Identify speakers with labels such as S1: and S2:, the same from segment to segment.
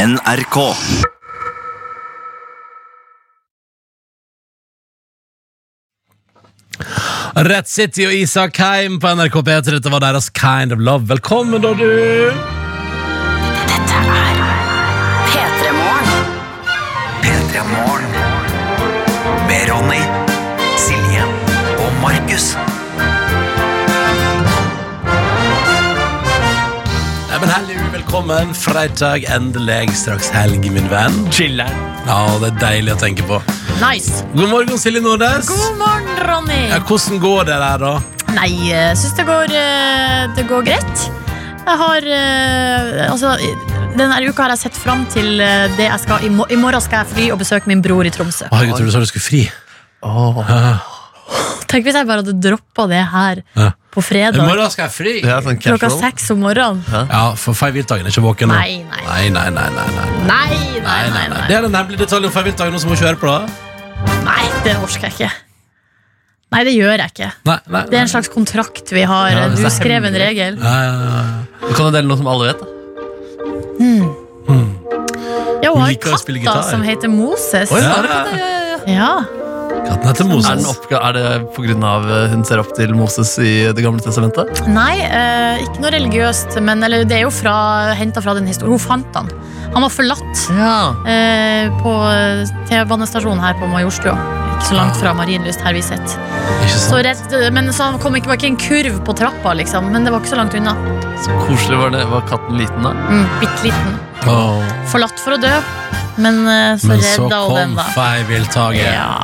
S1: NRK.
S2: Red City og Isak Heim på NRK P3. Dette var deres Kind of Love. Velkommen, da, du!
S3: P3morgen.
S1: P3 Morgen. Med Ronny, Silje og Markus.
S2: Nei, men hello, Velkommen. Fredag, endelig. Straks helg, min venn.
S4: Chiller'n.
S2: Ja, Det er deilig å tenke på.
S3: Nice.
S2: God morgen, Silje Nordnes.
S3: God morgen, Ronny.
S2: Ja, hvordan går det der, da?
S3: Nei, jeg syns det går eh, Det går greit. Jeg har eh, Altså, denne uka har jeg sett fram til eh, det jeg skal I, mo I morgen skal jeg fly og besøke min bror i Tromsø.
S2: Å, jeg trodde du sa du skulle fri.
S3: Tenk hvis jeg bare hadde droppa det her
S2: Ja.
S3: på
S2: I
S3: fredag
S2: morgen skal jeg fri.
S4: Det er sånn
S3: klokka
S4: casual.
S3: seks om morgenen.
S2: Ja, for Feiviltagen er ikke våken nå.
S3: Nei, nei.
S2: Nei, nei, nei, nei, nei.
S3: Nei, nei, nei. nei,
S2: Det er den hemmelige detaljen om Feiviltagen. Noen som må kjøre på det?
S3: Nei, det orker jeg ikke. Nei, det gjør jeg ikke.
S2: Nei, nei,
S3: Det
S2: nei.
S3: er en slags kontrakt vi har.
S4: Ja,
S3: du
S4: det er
S3: skrev en
S4: hemmelig.
S3: regel.
S2: Ja, ja, ja.
S4: Du kan jo dele noe som alle vet. da.
S3: Ja, hun har
S2: liker å spille
S3: katta
S2: gitar.
S3: som heter Moses.
S2: Oi,
S4: Ja,
S2: ja, ja,
S3: Ja,
S2: Katten heter
S4: Er, den
S2: Moses.
S4: oppga er det på grunn av eh, hun ser opp til Moses i Det gamle testamentet?
S3: Nei, eh, ikke noe religiøst, men eller, det er jo fra, henta fra den historien. Hun fant han. Han var forlatt
S4: Ja.
S3: eh, på T-banestasjonen her på Majorstua. Ikke så langt fra
S2: Ah.
S3: Marienlyst, her vi sitter.
S2: Ikke
S3: Så
S2: sant?
S3: rett, men så han kom ikke, var ikke en kurv på trappa, liksom. Men det var ikke så langt unna.
S4: Så koselig var, det, var katten liten da.
S3: Mm, Bitte liten.
S2: Åh.
S3: Forlatt for å dø, men eh, så
S2: Men så
S3: redda hun den,
S2: kom
S3: da.
S2: Feiviltagen.
S3: Ja.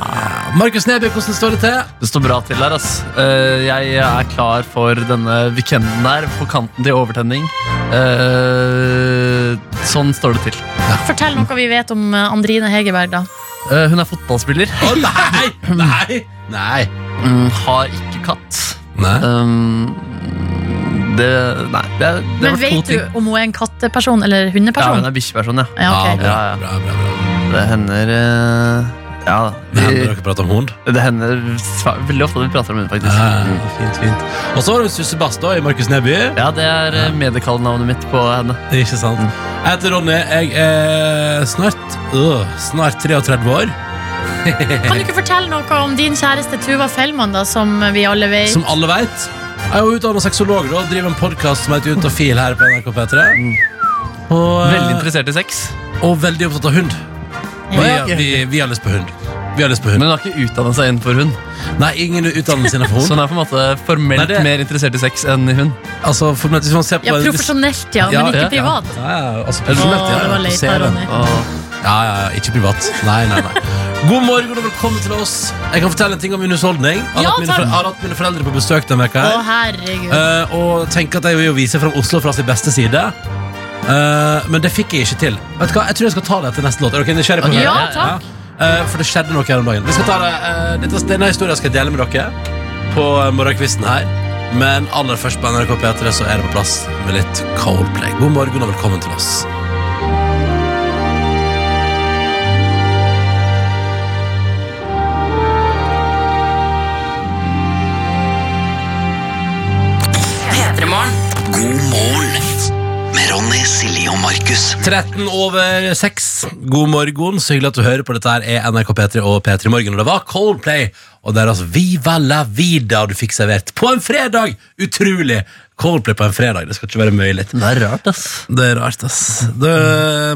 S2: Markus Neby, hvordan står det til?
S4: Det står bra til her. ass. Eh, jeg er klar for denne weekenden der, på kanten til overtenning. Eh, sånn står det til.
S3: Fortell noe vi vet om eh, Andrine Hegerberg, da.
S4: Eh, hun er fotballspiller.
S2: Å nei! Nei! Nei.
S4: Mm, har ikke katt.
S2: nei.
S4: Um, det Nei, det, er- det
S3: Men
S4: var to
S3: vet du
S4: ting.
S3: om hun er en katteperson eller
S4: Ja, hun
S3: hundeperson?
S4: er bikkjeperson, ja.
S3: Ja, ok.
S2: bra,
S4: Ja, ja.
S2: bra, bra, bra.
S4: Det hender eh, Ja da.
S2: Det hender
S4: Vi,
S2: dere prater om hund.
S4: det hender sva- veldig ofte at vi prater om henne, faktisk.
S2: Ja,
S4: Mm.
S2: fint, fint. Og så har du Sussebadstua i Markus Neby.
S4: Ja, det er eh, mediekallenavnet mitt på henne.
S2: Ikke sant? Jeg heter Ronny. Jeg er snart, øh, snart 33 år.
S3: Kan du ikke fortelle noe om din kjæreste Tuva Fellmann, da, som vi alle vet?
S2: Som alle veit. Jeg er jo utdannet sexolog da, og driver en podkast som heter Ut og fil her på NRK P3. Og, eh,
S4: Veldig interessert i sex.
S2: og veldig opptatt av hund. Vi,
S3: Ja.
S2: vi, vi har lyst på hund. Vi har lyst på hund.
S4: Men hun har ikke utdannet seg innenfor hund.
S2: Nei, ingen utdannelse innenfor
S4: Så
S2: hund.
S4: hun er på en måte formelt
S2: Nei, det-
S4: mer interessert i sex enn i hund.
S2: Altså, for, hvis man ser på
S3: Ja,
S2: hvis-
S3: profesjonelt, ja,
S2: Ja,
S3: men
S4: ja, ja.
S3: ikke privat.
S2: Ja, ja, altså,
S3: Å,
S2: profesjonelt, ja.
S3: det var leit
S2: Ser
S3: av
S2: den.
S3: Ronny.
S4: Og
S2: Ja, ja, ja, ikke privat. Nei, nei, nei. God morgen og velkommen til oss. Jeg kan fortelle en ting om min husholdning. Jeg har,
S3: Ja,
S2: hatt mine,
S3: takk.
S2: fore- jeg har hatt mine foreldre på besøk denne uka.
S3: Å,
S2: her.
S3: herregud.
S2: Eh, og tenker at jeg vil jo vise fram Oslo fra sin beste side. Eh, men det fikk jeg ikke til. Vet du hva, Jeg tror jeg skal ta det etter neste låt. Er dere nysgjerrige på det?
S3: Ja, takk.
S2: Eh, for det skjedde noe her om dagen. Vi skal ta det, eh, dette, denne historien skal jeg dele med dere på eh, morgenkvisten her. Men aller først på NRK P3 så er det på plass med litt Coldplay. God morgen og velkommen til oss.
S1: God morgen. Med Ronny, Silje og Markus.
S2: 13 over 6. God morgen. Så hyggelig at du hører på. Dette her er NRK P3 og P3 Morgen. Og det var Coldplay og deres Viva la vida du fikk servert på en fredag! Utrolig! Coldplay på en fredag. Det skal ikke være mulig.
S4: det er rart, ass.
S2: Det er rart, ass. Det,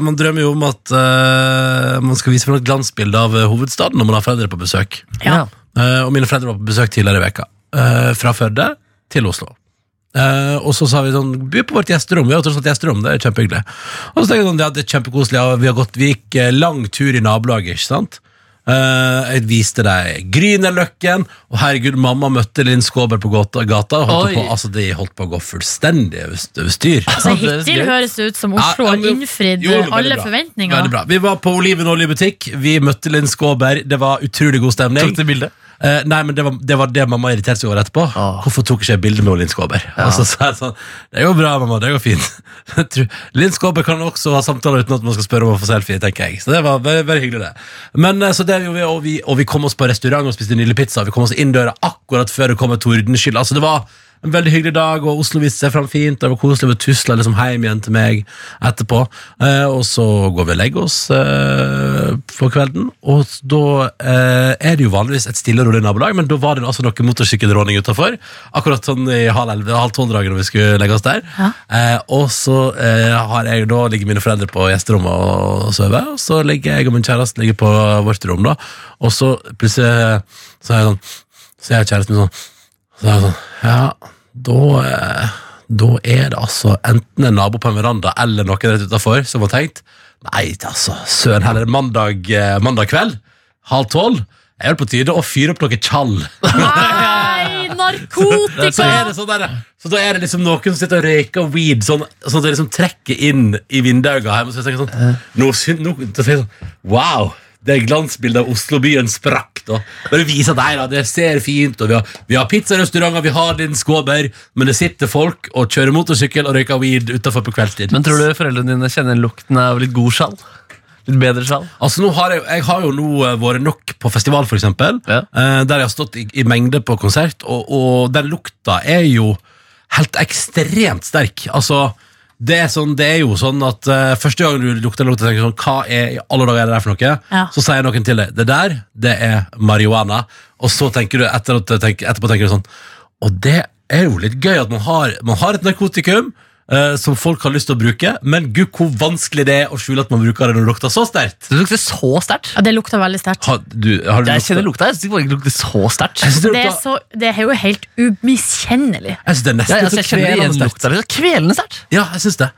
S2: man drømmer jo om at eh, man skal vise fram et glansbilde av eh, hovedstaden når man har foreldre på besøk.
S3: Ja.
S2: Eh, og mine foreldre var på besøk tidligere i veka. eh, fra Førde til Oslo. Eh, og så sa vi sånn By på vårt gjesterom. Vi har tross alt gjesterom, det er kjempehyggelig. Og så tenkte jeg sånn, ja, det er kjempekoselig. Ja, vi, har gått, vi gikk eh, lang tur i nabolaget, ikke sant? Eh, jeg viste deg Grünerløkken, og herregud, mamma møtte Linn Skåber på gata. gata holdt
S4: Oi.
S2: på, altså, de holdt på å gå fullstendig over over styr.
S3: Altså,
S4: det er
S3: hittil
S4: gøy.
S3: høres det ut som
S2: Ja,
S3: Oslo
S2: ja,
S3: har
S2: men-
S3: innfridd
S2: Jo, men veldig
S3: alle
S2: bra. Veldig
S3: forventninger.
S2: bra. Vi var på Oliven oljebutikk. Vi møtte Linn Skåber. Det var utrolig god stemning.
S4: Tok du bilde?
S2: Eh, nei, men det var, det var det mamma irriterte seg over etterpå.
S4: Ah.
S2: Hvorfor tok ikke jeg bilde med Linn Skåber? Altså, så er det sånn, det går bra, mamma. Det går fint. Jeg tror- Linn Skåber kan også ha samtaler uten at man skal spørre om å få selfie, tenker jeg. Så det var veldig, veldig hyggelig, det. Men eh, så det gjorde vi, og vi, og vi kom oss på restaurant og spiste nydelig pizza. Vi kom oss inn døra akkurat før det kom et tordenskyll. Altså, det var En veldig hyggelig dag, og Oslo viste seg fram fint. og Det var koselig å tusle liksom hjem igjen til meg etterpå. Eh, og så går vi og legger oss eh, på kvelden, og da eh, er det jo vanligvis et stille og rolig nabolag, men da var det altså noe motorsykkelråning utafor. Akkurat sånn i halv elleve, halv tolv-dragen når vi skulle legge oss der.
S3: Ja.
S2: Eh, og så eh, har jeg da ligger mine foreldre på gjesterommet og, og sover, og så ligger jeg og min kjæreste ligger på vårt rom, da, og så plutselig så er jeg sånn så jeg og kjæresten min sånn så er jeg sånn, ja, da, eh, da er det altså enten en nabo på en veranda eller noen rett utenfor som har tenkt, nei, altså, søren heller, mandag, eh, mandag kveld, halv tolv, er det på tide å fyre opp noe tjall.
S3: Nei,
S2: Så, er
S3: narkotika!
S2: det sånn der, så da er det liksom noen som sitter og røyker weed, sånn, sånn at det liksom trekker inn i vindauga her, så jeg tenker sånn, nå, syn- nå, så tenker jeg sånn, wow, det er glansbildet av Oslobyen sprakk da. Bare vise at nei da, det ser fint, og vi har, vi har pizzarestauranter, vi har din skåber, men det sitter folk og kjører motorsykkel og røyker weed utenfor på kveldstid.
S4: Men tror du foreldrene dine kjenner lukten av litt god skjall? Litt bedre skjall?
S2: Altså, nå har jeg, jeg har jo nå eh, vært nok på festival, for eksempel,
S4: Ja.
S2: eh, der jeg har stått i, i mengde på konsert, og, og den lukta er jo helt ekstremt sterk. Altså, det er, sånn, det er jo sånn at eh, første gang du lukter en lukt, tenker du sånn, hva er i alle dager er det der for noe?
S3: Ja.
S2: Så sier noen til deg, det der, det er marihuana. Og så tenker du, etter at, tenk, etterpå tenker du sånn, og det er jo litt gøy at man har, man har et narkotikum, eh, som folk har lyst til å bruke, men gud, hvor vanskelig det er å skjule at man bruker det når det lukter så sterkt.
S4: Det lukter så sterkt.
S3: Ja, det lukta veldig sterkt.
S2: Har, du, har du
S4: Jeg
S2: lukta-
S4: kjenner lukta. Jeg synes bare ikke det lukter så sterkt.
S2: Jeg synes det,
S3: Det er,
S2: lukta-
S3: så, det er jo helt umiskjennelig.
S2: jeg synes det er nesten
S4: Ja, jeg, altså, jeg kjenner det igjen
S2: kvelende sterkt.
S4: lukta. Det er Kvelende sterkt.
S2: Ja, jeg synes det.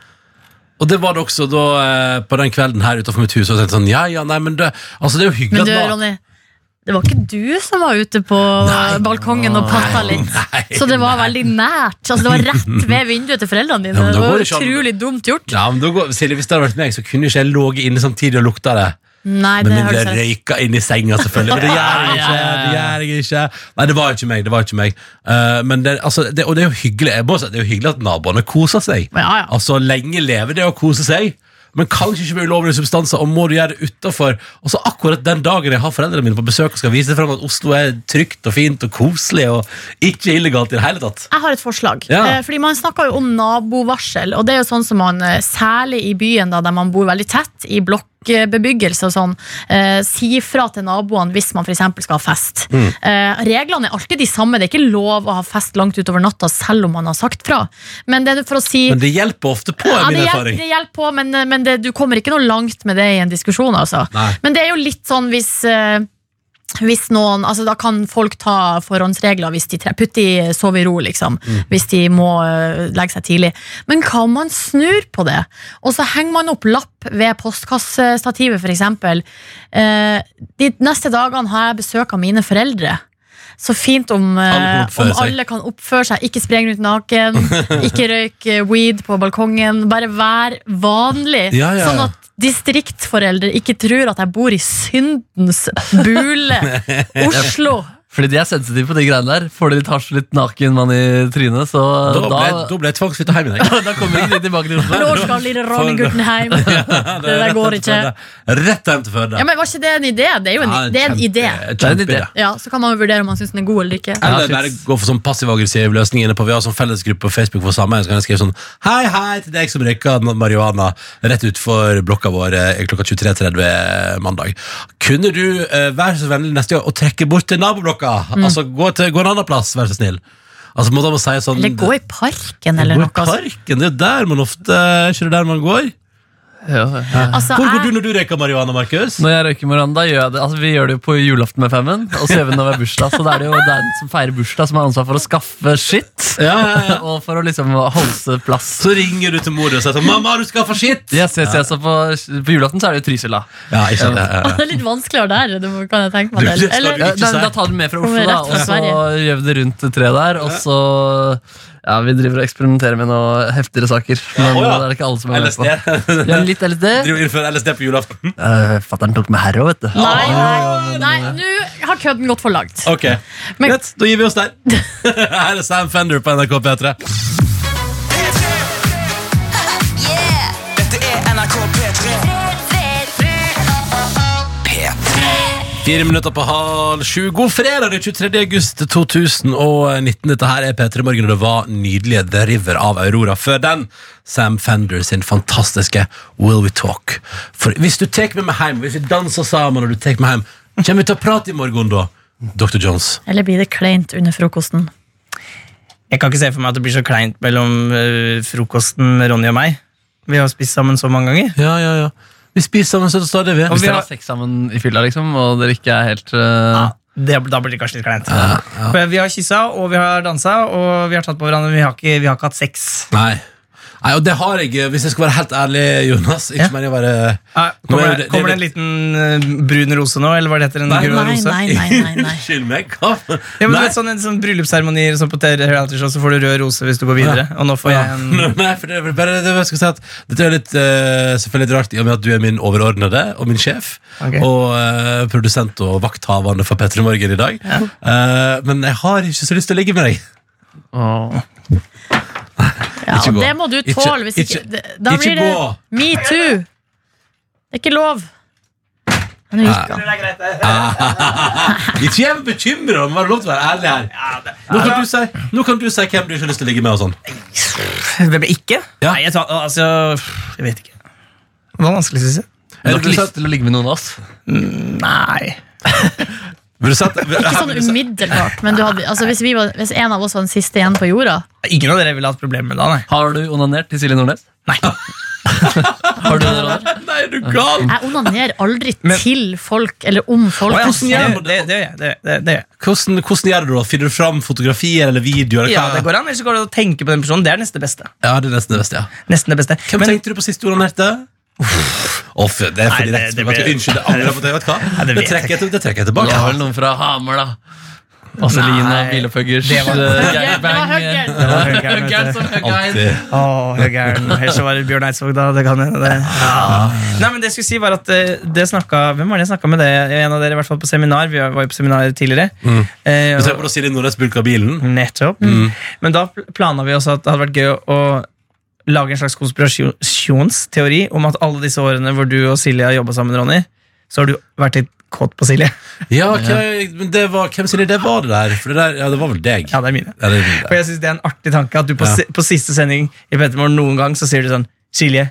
S2: Og det var det også da, eh, på den kvelden her utenfor mitt hus. Og jeg tenkte sånn, ja, ja, nei, men det, altså, det er jo hyggelig
S3: Men du,
S2: at na-
S3: Ronny, det var ikke du som var ute på
S2: Nei.
S3: balkongen og patta litt.
S2: Nei,
S3: Så det var veldig nært. Altså, det var rett ved vinduet til foreldrene
S2: Ja,
S3: dine.
S2: men da
S3: Det
S2: går
S3: var
S2: det ikke an.
S3: utrolig dumt gjort.
S2: Ja, men da går, Silje, Hvis det hadde vært meg, så kunne ikke jeg ligget inne samtidig og lukta det.
S3: Nei,
S2: Med
S3: det
S2: mindre
S3: høres
S2: jeg
S3: rett
S2: røyka inni senga, selvfølgelig. Men det gjør jeg ikke. det gjør jeg ikke Nei, det var jo ikke meg. det var jo ikke meg Eh, men det, altså, det, Og det er jo hyggelig jeg må si, Det er jo hyggelig at naboene koser seg.
S3: Ja, ja.
S2: Altså, Lenge leve det å kose seg. Men kanskje ikke med ulovlige substanser, og må du gjøre det utafor. Og så akkurat den dagen jeg har foreldrene mine på besøk og skal vise frem at Oslo er trygt og fint og koselig og ikke illegalt i det hele tatt.
S3: Jeg har et forslag.
S2: Ja.
S3: Eh, Fordi Man snakker jo om nabovarsel. Og det er jo sånn som man, eh, Særlig i byen, da, der man bor veldig tett, i blokkbebyggelse og sånn, eh, si fra til naboene hvis man f.eks. skal ha fest. Eh, reglene er alltid de samme. Det er ikke lov å ha fest langt utover natta selv om man har sagt fra. Men det er for å si
S2: Men det hjelper ofte på,
S3: ja,
S2: er min
S3: det, hjelper,
S2: erfaring.
S3: det hjelper på, men, eh, men det, du kommer ikke noe langt med det i en diskusjon. Altså.
S2: Nei.
S3: Men det er jo litt sånn hvis eh, hvis noen, altså Da kan folk ta forhåndsregler hvis de tre, putter i sove i ro, liksom.
S2: Mm.
S3: Hvis de må eh, legge seg tidlig. Men hva om man snur på det? Og så henger man opp lapp ved postkassestativet, f.eks. Eh, de neste dagene har jeg besøk av mine foreldre. Så fint om, eh,
S2: Alle kan oppføre
S3: om
S2: seg.
S3: alle kan oppføre seg. Ikke spreng rundt naken, ikke røyk eh, weed på balkongen. Bare vær vanlig.
S2: Ja, ja, ja.
S3: Sånn at distriktforeldre ikke tror at jeg bor i syndens bule. Oslo.
S4: Fordi de er sensitive på de greiene der. Får de litt hasj og litt naken mann i trynet, så
S2: Da
S4: da,
S2: ble, da ble jeg tvangsflytta hjem igjen.
S4: da kommer ikke de tilbake til Oslo.
S3: Når skal lille Ronny Guttenheim? Det der går ikke.
S2: Rett hjem til Førde.
S3: Ja, men Var ikke det en idé? Det er jo en,
S2: Ja,
S3: det er en
S2: kjempe-
S3: idé.
S4: Det er en idé.
S2: kjempeidé.
S3: Ja, Så kan man jo vurdere om man syns den er god eller ikke.
S2: Eller
S4: Ja,
S2: bare
S4: shit.
S2: gå for sånn passiv-aggressiv løsning inne på Vi har sånn fellesgruppe på Facebook for samme Så kan jeg skrive sånn Hei, hei til deg som røyker marihuana Rett ut for blokka vår eh, klokka 23.30 mandag Kunne du eh, være så vennlig neste gang Og trekke bort til naboblokka
S3: Mm.
S2: Altså gå, til, gå en annen plass, vær så snill Altså må da må si sånn
S3: Eller gå i parken eller
S2: Gå i
S3: noe. altså.
S2: parken, det er jo der man ofte Er ikke det der man går?
S4: Ja, ja.
S3: Altså,
S2: Hvor går
S3: jeg-
S2: du når du røyker marihuana, Markus?
S4: Når jeg røyker Moranda, gjør jeg det. Altså, vi gjør det jo på julaften med femmen, og så gjør vi det når vi har bursdag. Så da er det jo den som feirer bursdag, som har ansvar for å skaffe shit,
S2: Ja, ja, ja
S4: og for å liksom holde plass.
S2: Så ringer du til mor og sier sånn Mamma, du skal få skitt
S4: Yes, yes, yes. Og på, på julaften så er det jo Trysil, da.
S2: Ja, ikke sant ja, ja, ja.
S3: Det er litt vanskeligere der, det må- kan jeg tenke meg.
S2: Du, det skal
S3: Eller,
S2: du
S3: eller,
S4: Ja,
S2: ikke.
S4: da,
S2: sant?
S4: da tar du med fra Oslo,
S3: Kommer
S4: da,
S3: rett
S4: og
S3: fra
S4: så
S3: Sverige.
S4: gjør vi det rundt det treet der. Og så Ja, vi driver og eksperimenterer med noen heftigere saker. Men
S2: Å, ja.
S4: det er det ikke alle som er med
S2: LSD
S4: på. Ja, litt LSD.
S2: Driver innfører LSD på julaften Hm,
S4: Uh, Fatter'n tok med herre òg, vet du.
S3: nei, nei, nei, nå har kødden gått for langt.
S2: Ok,
S3: Men-
S2: greit, da gir vi oss der Her er Sam Fender på NRK P3
S5: Dette er NRK P3.
S1: P3
S2: Fire minutter på halv sju. God fredag, det er 23. august 2019. Dette her er P3 Morgen, og det var nydelige The River av Aurora. Før den, Sam Fender sin fantastiske Will We Talk. For hvis du tar med meg hjem, hvis vi danser sammen og du tar meg hjem, kommer vi til å prate i morgen da, Dr. Jones?
S3: Eller blir det kleint under frokosten?
S5: Jeg kan ikke se for meg at det blir så kleint mellom eh, frokosten Ronny og meg. Vi har spist sammen så mange ganger.
S2: Ja, ja, ja. Vi spiser sammen så stadig, vi.
S5: Og
S4: Hvis
S5: vi
S4: dere
S5: har-
S4: har sex sammen i fylla, liksom, og dere ikke er helt eh,
S5: Det, da blir det kanskje litt kleint. For Vi har kyssa, og vi har dansa, og vi har tatt på hverandre, men vi har ikke, vi har ikke hatt sex.
S2: Nei. Nei, og det har jeg, hvis jeg skal være helt ærlig, Jonas. Ikke
S5: Ja.
S2: mener jeg å være Nå
S5: Ah,
S2: er
S5: kommer,
S2: det-
S5: det, kommer det en liten eh, brun rose nå, eller hva det heter? En
S2: Nei,
S5: grønn
S3: Nei,
S5: rose?
S3: nei, nei. nei, nei.
S2: Unnskyld meg, hva?
S5: Ja, men du
S2: Nei.
S5: vet, sånn, en sånn bryllupsseremonier og sånn på reality show, så får du rød rose hvis du går videre. Og nå får
S2: Ja.
S5: jeg en
S2: Nei, for det er bare det jeg skal si at Dette er litt, eh, selvfølgelig litt rart i og med at du er min overordnede og min sjef.
S5: Ok.
S2: Og eh, produsent og vakthavende for P3 Morgen i dag. Eh, men jeg har ikke så lyst til å ligge med deg.
S4: åh.
S3: Ja,
S2: Ikke gå.
S3: det må du
S2: Ikke-
S3: tåle. Hvis ikke,
S2: ikke-
S3: det- da
S2: ikke
S3: blir det
S2: gå.
S3: metoo. Det er ikke lov. Men nå gikk han.
S2: Ikke jeg bekymra, men var det lov til å være ærlig her? Nå kan, du si, nå kan du si hvem du ikke har lyst til å ligge med. og sånn
S5: Hvem er ikke?
S2: Ja.
S5: Nei, jeg, tar, altså, jeg vet ikke. Det var vanskelig, syns jeg.
S4: Men
S2: Eller
S4: Du har ikke
S2: du sa-
S4: lyst til å ligge med noen av oss?
S5: Nei.
S2: Vil du si at-
S3: Ikke sånn umiddelbart, men du hadde, altså, hvis, vi var, hvis en av oss var den siste igjen på jorda
S5: Ingen av dere ville hatt problemer med det, nei.
S4: Har du onanert til Silje Nordnes?
S5: Nei.
S4: Har du det, Ronny?
S2: Nei, er du gal?
S3: Jeg onanerer aldri til folk eller om folk.
S5: Å, ja,
S2: Hvordan gjør man
S5: det, det, det, det, det, det.
S2: Hvordan, hvordan gjør du det da? Finner du fram fotografier eller videoer? Eller
S5: Ja,
S2: hva?
S5: det går an, eller så går det å tenke på den personen. Det er nesten det beste.
S2: ja, det er nesten det beste, ja.
S5: Nesten det beste.
S2: Hvem
S5: Men,
S2: tenkte du på sist du onanerte? Å, fy, det er for
S5: Nei, det-
S2: direkte.
S5: det
S2: vet du.
S5: ble-
S2: Unnskyld, det angrer jeg på. Det, vet du hva?
S5: Nei, det
S2: det,
S5: vet
S2: trekker jeg, til- det trekker jeg
S4: Du
S2: tilbake.
S4: har vel noen fra Hamar, da? Vazelina,
S5: Nei.
S4: Bilopphuggers
S5: Det var-
S4: eh,
S3: Ja, det var
S4: gangbang, eh.
S3: høggeren.
S5: Det var høggeren, vet
S4: Høggeren
S5: du.
S4: som høggeren.
S2: Alltid.
S5: Å, høggeren. Ellers så var det Bjørn Eidsvåg, da. Det kan hende, det. Nei, men det jeg skulle si, var at eh, det snakka Hvem var det jeg snakka med det? En av dere, i hvert fall på seminar. Vi var jo på seminar tidligere. Eh,
S2: Du
S5: og-
S2: ser på da Silje Nordnes bulker bilen.
S5: Nettopp. Men da pl- plana vi også at det hadde vært gøy å, å lage en slags konspirasjonsteori om at alle disse årene hvor du og Silje har jobba sammen, Ronny, så har du vært litt kåt på Silje.
S2: Ja, hva- men det var, hvem Silje, det var det der? For det der, ja, det var vel deg.
S5: Ja, det er mine.
S2: Ja, det er
S5: Og jeg synes det er en artig tanke at du på,
S2: Ja.
S5: si, på siste sending i Petermorgen noen gang så sier du sånn Silje,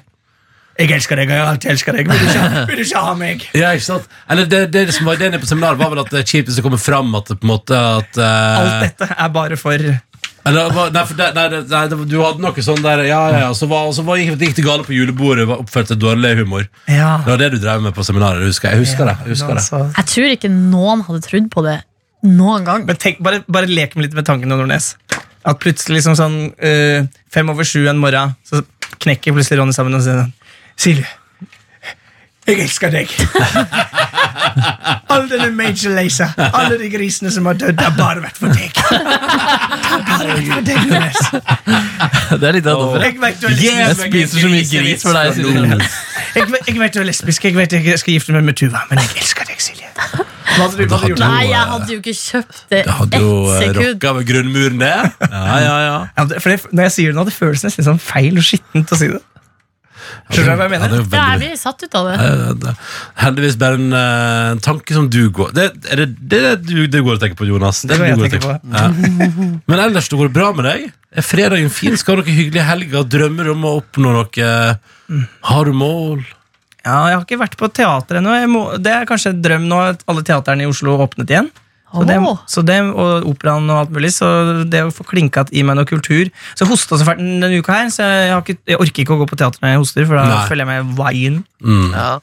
S5: jeg elsker deg, og jeg har alltid elsker deg. Vil du ikke, ha- vil du ikke ha meg?
S2: ja, ikke sant? Eller det, det som var ideen på seminaret, var vel at det er kjipt hvis det kommer fram at det på en måte at eh,
S5: Alt dette er bare for
S2: Eller, det var- nei, for det, nei, det, nei, det, var- du hadde noe sånn der Ja, ja, ja. Så, var, så var, gikk, gikk det gale på julebordet og oppførte dårlig humor.
S5: Ja.
S2: Det var det du drev med på seminaret. husker Jeg Jeg husker det. Jeg husker det.
S5: Altså.
S3: Jeg tror ikke noen hadde trodd på det noen gang.
S5: Men tenk, bare, bare lek med litt med tanken om Nordnes. At plutselig liksom sånn eh, fem over sju en morgen, så knekker plutselig Ronny sammen og sier sånn Silje, jeg elsker deg. All denne Major Lazer, alle de grisene som har dødd, har bare vært for deg. Det har bare vært for deg, Nordnes.
S4: Det er litt av dobbelt.
S5: Jeg vet du er
S2: Yeah,
S4: Jeg
S5: lesbisk.
S4: spiser så mye gris for deg, Silje
S2: Mm.
S4: Nordnes.
S5: Jeg, vet- jeg vet du er lesbisk, jeg vet jeg skal gifte meg med Tuva, men jeg elsker deg, Silje. Hva hadde du, hva hadde du gjort?
S3: Nei, jeg hadde jo ikke kjøpt det
S2: Jeg eh, hadde
S3: ett
S2: jo eh,
S3: sekund.
S2: rocka ved grunnmuren, det. Ja, ja, ja.
S5: Ja, det, for det, når jeg sier det nå, det føles nesten litt sånn feil og skittent å si det. Skjønner du hva
S2: Ja,
S5: jeg
S2: det
S5: mener?
S2: er jo
S3: Ja, jeg
S2: veldig,
S3: blir satt ut av det.
S2: Eh, det- heldigvis bare en eh, en tanke som du går det, Er det det, er det du, det du går og tenker på, Jonas?
S5: Det er
S2: du
S5: hva
S2: går
S5: jeg
S2: og Ja. Men ellers, det går bra med deg? Er fredagen fin? Skal du ha noen hyggelige helger? Drømmer om å oppnå noe?
S5: Mm.
S2: Har du mål?
S5: Ja, jeg har ikke vært på teater ennå. Jeg må, det er kanskje en drøm nå at alle teaterne i Oslo åpnet igjen. Så det,
S3: Åh.
S5: så det, og operaen og alt mulig. Så det å få klinka i meg noe kultur Så jeg hosta så fælt den- denne uka her, så jeg, har ikke, jeg orker ikke å gå på teater når jeg hoster, for da
S2: Nei.
S5: føler jeg meg vain.
S2: Mm.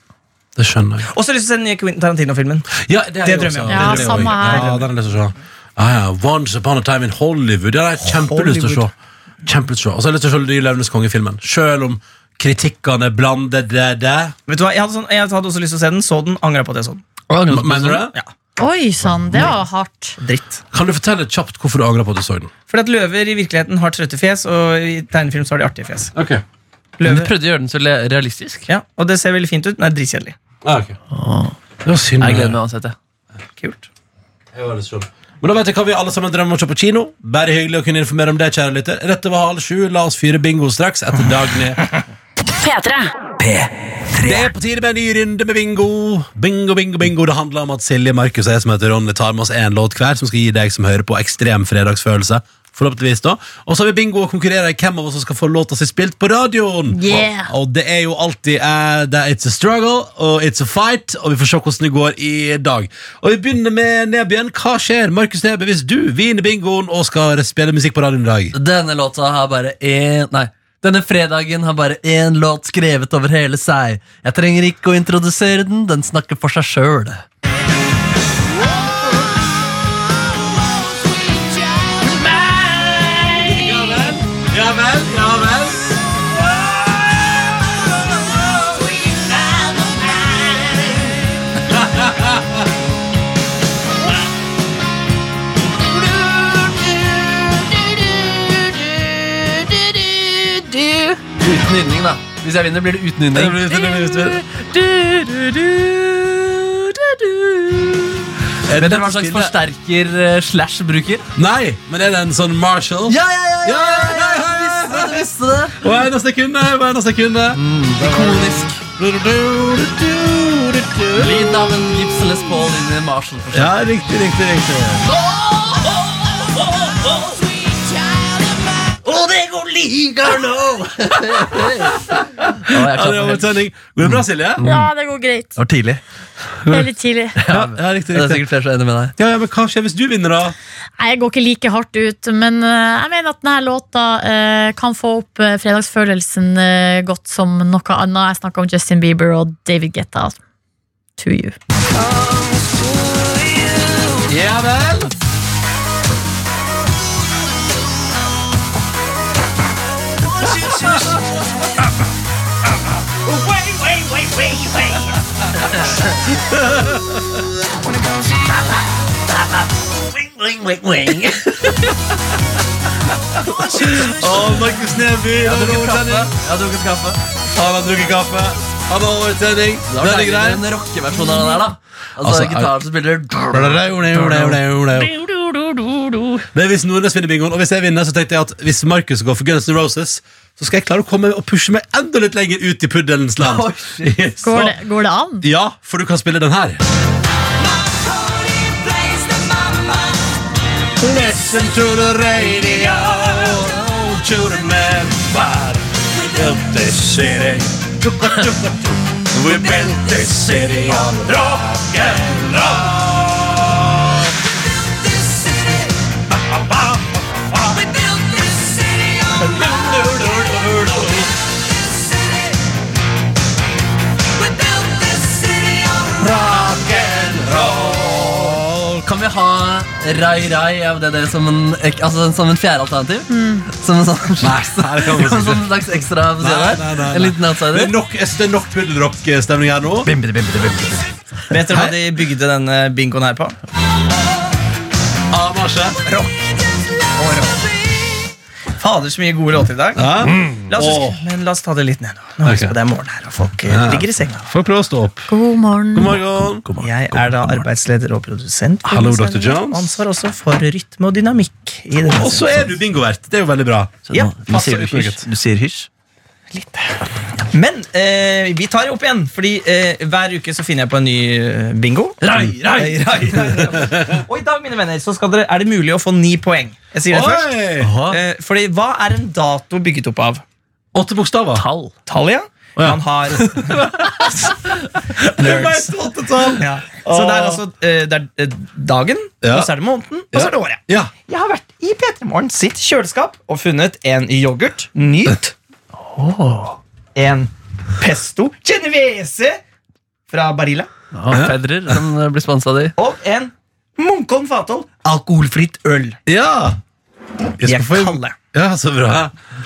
S2: Det skjønner jeg.
S5: Og så har jeg lyst til å se den nye Quentin Tarantino-filmen.
S2: Ja, det, er
S5: Det
S2: jeg
S5: drømmer
S2: også.
S5: jeg om.
S2: Det
S3: Ja,
S2: drømmer jeg
S3: samme
S2: også.
S3: her.
S2: Ja, den har jeg lyst til å se. sånn. Ja, ja. Once upon a time in Hollywood. Det har jeg kjempelyst til å se. Kjempelyst til å se. Og så har jeg lyst til å se den nye Løvenes konge-filmen. Selv om kritikkene blander det der.
S5: Vet du hva, jeg hadde, sånn, jeg hadde også lyst til å se den, så den, angra på at jeg så den.
S2: Mener du det?
S3: Oi sann, det var hardt.
S5: Dritt.
S2: Kan du fortelle kjapt hvorfor du angrer på at du så den?
S5: Fordi at løver i virkeligheten har trøtte fjes, og i tegnefilm så har de artige fjes.
S2: Okay.
S4: Men du
S5: Løver,
S4: prøvde å gjøre den så le- realistisk.
S5: ja, og det ser veldig fint ut, men det er dritkjedelig.
S2: Ah, okay. Det var synd.
S4: Jeg gleder meg uansett. jeg.
S5: Kult.
S2: Jeg var litt sånn. Men da vet jeg hva vi alle sammen drømmer om å se på kino. Bare hyggelig å kunne informere om det, kjære lytter. Dette var halv sju. La oss fyre bingo straks etter Dagny.
S6: P3.
S2: Det er på tide med en ny runde med bingo. Bingo, bingo, bingo. Det handler om at Silje, Markus og jeg som heter Ronny tar med oss én låt hver som skal gi deg som hører på ekstrem fredagsfølelse. Forhåpentligvis da Og så har vi bingo og konkurrerer i hvem av oss som skal få låta si spilt på radioen.
S3: Yeah.
S2: Og, og det er jo alltid eh, det er It's a struggle og it's a fight, og vi får se hvordan det går i dag. Og Vi begynner med Nebyen. Hva skjer Markus Neby, hvis du vinner bingoen og skal spille musikk på radioen i dag?
S4: Denne låta har bare én Nei. Denne fredagen har bare én låt skrevet over hele seg. Jeg trenger ikke å introdusere den, den snakker for seg sjøl.
S2: Ja vel, ja vel.
S4: Uten nynning, da. Hvis jeg vinner, blir det uten nynning. Vet dere hva slags forsterker eh, Slash bruker?
S2: Nei, men er det en sånn Marshall?
S4: Ja, ja, ja!
S2: ja, ja, ja, ja, ja, ja.
S4: Jeg visste det!
S2: Og en av sekundene, og en av sekundene.
S4: Ikonisk. Lyd av en Gibson Les Paul inn i en Marshall-forsterker.
S2: Ja, riktig, riktig, riktig.
S4: Å, jeg
S2: Ja, det var
S4: klapper
S2: en
S4: helt.
S2: sending. Går det bra, Silje?
S3: Ja, det går greit.
S4: Det var tidlig.
S3: Det er litt tidlig.
S2: Ja, ja riktig,
S4: Det er
S2: riktig.
S4: sikkert flere som er enig med deg.
S2: Ja, ja, men hva skjer hvis du vinner, da?
S3: Nei, Jeg går ikke like hardt ut, men eh, jeg mener at denne låta eh, kan få opp eh, fredagsfølelsen eh, godt som noe annet. Jeg snakka om Justin Bieber og David Guetta. To you.
S4: Ja vel!
S2: Å, Markus Neby.
S4: Jeg
S2: Han
S4: har
S2: har
S4: drukket kaffe.
S2: overtenning.
S4: Jeg
S2: Han
S4: har drukket kaffe.
S2: har drukket kaffe. Han har overtenning.
S4: Det
S2: Den
S4: var
S2: er
S4: deilig
S2: grei.
S4: med en rockeversjon av den der, da. Altså,
S2: Altså,
S4: gitaren som spiller
S2: Det er hvis Nordnes vinner bingoen, og hvis jeg vinner, så tenkte jeg at hvis Markus går for Guns N' Roses, så skal jeg klare å komme og pushe meg enda litt lenger ut i puddelens land.
S4: Oi, shit.
S2: Så-
S3: Går det, går det an?
S2: Ja, for du kan spille den her. Listen to the radio, to the man bar of the city. We built this city on rock and roll.
S4: Kan vi ha Rai Rai av det der som en, ek- altså, som en fjerde alternativ? Som en sånn slags,
S2: nei, det kan vi ikke.
S4: som en sånn slags ekstra på siden
S2: Nei,
S4: der?
S2: nei, nei,
S4: En
S2: nei.
S4: liten
S2: Det er
S4: outsider?
S2: nok, det er nok puddelrock-stemning her nå.
S5: Vet dere hva de bygde denne bingoen her på?
S2: Amasje.
S5: Fader, så mye gode låter i dag.
S2: Ja.
S5: La oss,
S2: Åh.
S5: men la oss ta det litt ned nå. Nå husk
S2: Ok.
S5: på det er morgen her, og folk eh, ligger i senga.
S2: Får prøve å stå opp.
S3: God morgen.
S2: God morgen.
S5: Jeg er da arbeidsleder og produsent. for
S2: Hallo, Dr.
S5: denne sendingen,
S2: Jones.
S5: Og ansvar også for rytme og dynamikk. i denne
S2: Og så er du bingovert. Det er jo veldig bra.
S5: sendingen. ja,
S6: Nå
S5: passer
S6: sier du
S5: utmerket.
S6: hysj. Du sier hysj.
S5: Men eh, vi tar det opp igjen, Fordi eh, hver uke så finner jeg på en ny eh, bingo.
S2: Rai, rai.
S5: Eh, rai, rai, rai. Og i dag mine venner, så skal dere, er det mulig å få ni poeng. Jeg sier det først.
S2: Oi!
S5: Eh, fordi hva er en dato bygget opp av?
S2: Åtte bokstaver.
S4: Tall.
S5: Tall, ja.
S2: ja.
S5: Man har Nerds. Ja. Så det er altså eh, det er eh, dagen,
S2: Ja.
S5: og så er det måneden, og så er det året.
S2: Ja.
S5: Jeg har vært i P3 Morgen sitt kjøleskap og funnet en yoghurt Nyt. En pesto genovese fra Barilla.
S4: Fedrer, som eh, blir sponsa av de.
S5: Og en Munkholm Fathold alkoholfritt øl.
S2: Ja. Jeg
S5: Jeg
S2: skal få
S5: kaller det.
S2: Ja, så bra.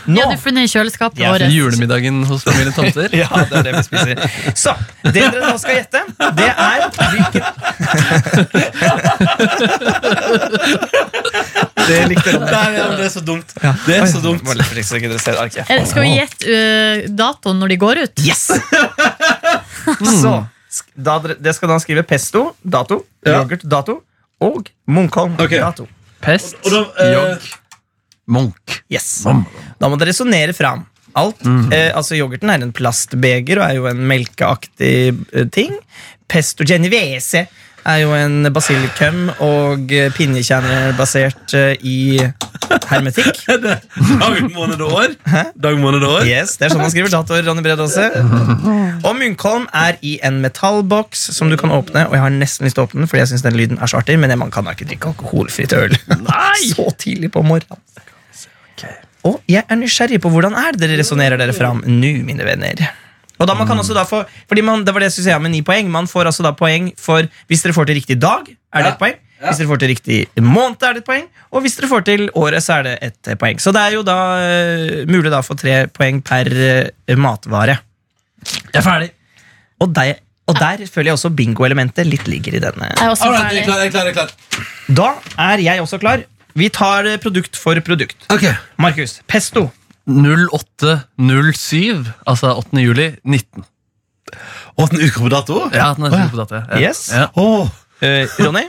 S5: Nå.
S3: Ja, du funnet i kjøleskapet
S5: Ja,
S3: året.
S4: Julemiddagen hos familien Tomter.
S5: Ja, det er det vi spiser. Så, det dere nå skal gjette, det er hvilken Det likte dere.
S2: Nei, ja, men det er så dumt. Det er så dumt.
S5: Må litt for ikke så ikke dere ser arket.
S3: Eh, Skal vi gjette eh, datoen når de går ut?
S5: Yes! Så, sk- da, dere- det skal da skrive pesto, dato,
S2: Ja.
S5: yoghurt, dato, og Munkholm,
S2: Ok.
S5: dato.
S4: Pest,
S2: Og da, eh,
S4: jogg, Munch.
S5: Yes. Da må dere resonnere fram. alt. Eh, altså Yoghurten er en plastbeger og er jo en melkeaktig eh, ting. Pesto genovese er jo en basilikum og eh, pinjekjerner basert eh, i hermetikk.
S2: Dag, måned og
S5: Sånn
S2: år. Dag, måned og år.
S5: Yes, Det er sånn man skriver datoer. Ronny Bredd også Og Munkholm er i en metallboks som du kan åpne. Og jeg har nesten lyst til å åpne den, Fordi jeg synes den lyden er så artig. Men man kan da ikke drikke alkoholfritt øl så tidlig på morgenen. Og jeg er nysgjerrig på hvordan er det dere resonnerer dere fram nå, mine venner. Og da man kan også da få Fordi man, Det var det jeg skulle si ja, med ni poeng. Man får altså da poeng for hvis dere får til riktig dag, er det et poeng. Hvis dere får til riktig måned, er det et poeng. Og hvis dere får til året, så er det et eh, poeng. Så det er jo da eh, mulig da å få tre poeng per eh, matvare.
S4: Jeg er ferdig.
S5: Og der, og der føler jeg også bingoelementet litt ligger i denne.
S3: Jeg er også
S2: All right, jeg er
S3: ferdig.
S2: klar, jeg er klar, jeg er klar.
S5: Da er jeg også klar. Vi tar eh, produkt for produkt.
S2: Ok,
S5: Markus, pesto.
S4: 0807, altså 8. juli 19.
S2: Og den utgår på dato?
S4: Ja, den
S2: Å,
S4: er
S2: ja.
S4: stor på data. Ja.
S5: Yes.
S4: Ja.
S2: Åh,
S5: Eh, Ronny?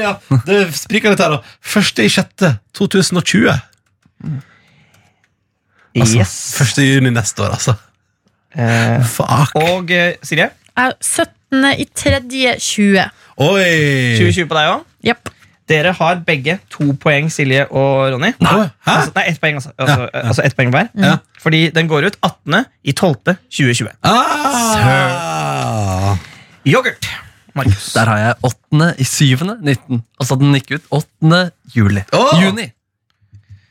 S2: ja, det spriker litt her, da. Første i sjette 2020. Altså, Første juni neste år, altså.
S5: Eh,
S2: Fuck.
S5: og eh, Silje?
S3: Jeg er 17. i tredje 20.
S2: Oi!
S5: 2020 på deg òg.
S3: Jepp.
S5: Dere har begge to poeng, Silje og Ronny.
S2: Oi, Hæ?
S5: Altså, nei, ett poeng, altså. Altså, altså ett poeng hver.
S2: Ja.
S5: Fordi den går ut 18. i 12. 2020.
S2: Ah!
S5: Yoghurt. Markus.
S4: Der har jeg 8. i 7. 19. Altså den gikk ut 8. juli.
S2: Åh!
S4: Juni.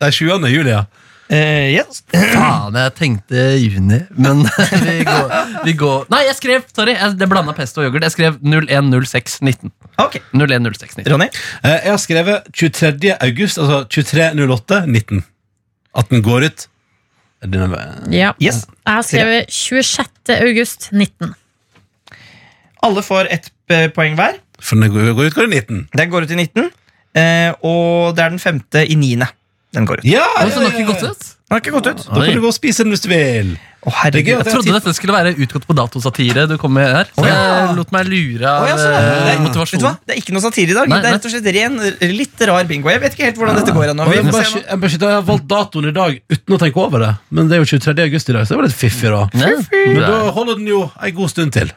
S2: Det er 20. juli, ja.
S5: Eh, yes.
S4: Faen, jeg tenkte juni, men vi går, vi går. Nei, jeg skrev sorry, jeg, det blanda pesto og yoghurt. Jeg skrev 010619.
S5: Ok.
S4: 010619.
S5: Ronny.
S2: Eh, Jeg har skrevet 23. august, altså 23.08, 19. At den går ut. Er det noe-
S3: Ja. Jeg
S5: Yes.
S3: har skrevet 26. august 19.
S5: Alle får ett eh, poeng hver.
S2: For den går går ut, går det 19.
S5: Den går ut i 19. eh, og det er den femte i 9. Den går ut.
S2: Ja!
S4: Oi, så den Sånn har ikke gått ut?
S5: Den har ikke gått ut.
S2: Da kan du gå og spise den hvis du vil.
S5: Å,
S2: Det er gøy
S5: herregud.
S2: at
S4: Jeg trodde dette skulle være utgått på datosatire. Du kom med her
S2: Å,
S4: Så
S2: ja.
S4: jeg lot meg lure
S5: Å,
S4: av
S5: ja, sånn, ja.
S4: eh,
S5: Nei, Vet du hva?
S4: motivasjonen.
S5: Det er ikke noe satire i dag.
S4: Nei,
S5: det er
S4: nei.
S5: rett og slett ren, litt rar bingo. Jeg vet ikke helt hvordan dette går ennå.
S2: Og
S5: Vi
S2: jeg,
S5: får
S2: bare, ikke-
S5: se
S2: jeg, bare, ikke- jeg har valgt datoen i dag uten å tenke over det. Men det er jo 23. august i dag, så det var litt fiffig, da.
S4: Ja.
S2: Men da holder den jo ei god stund til.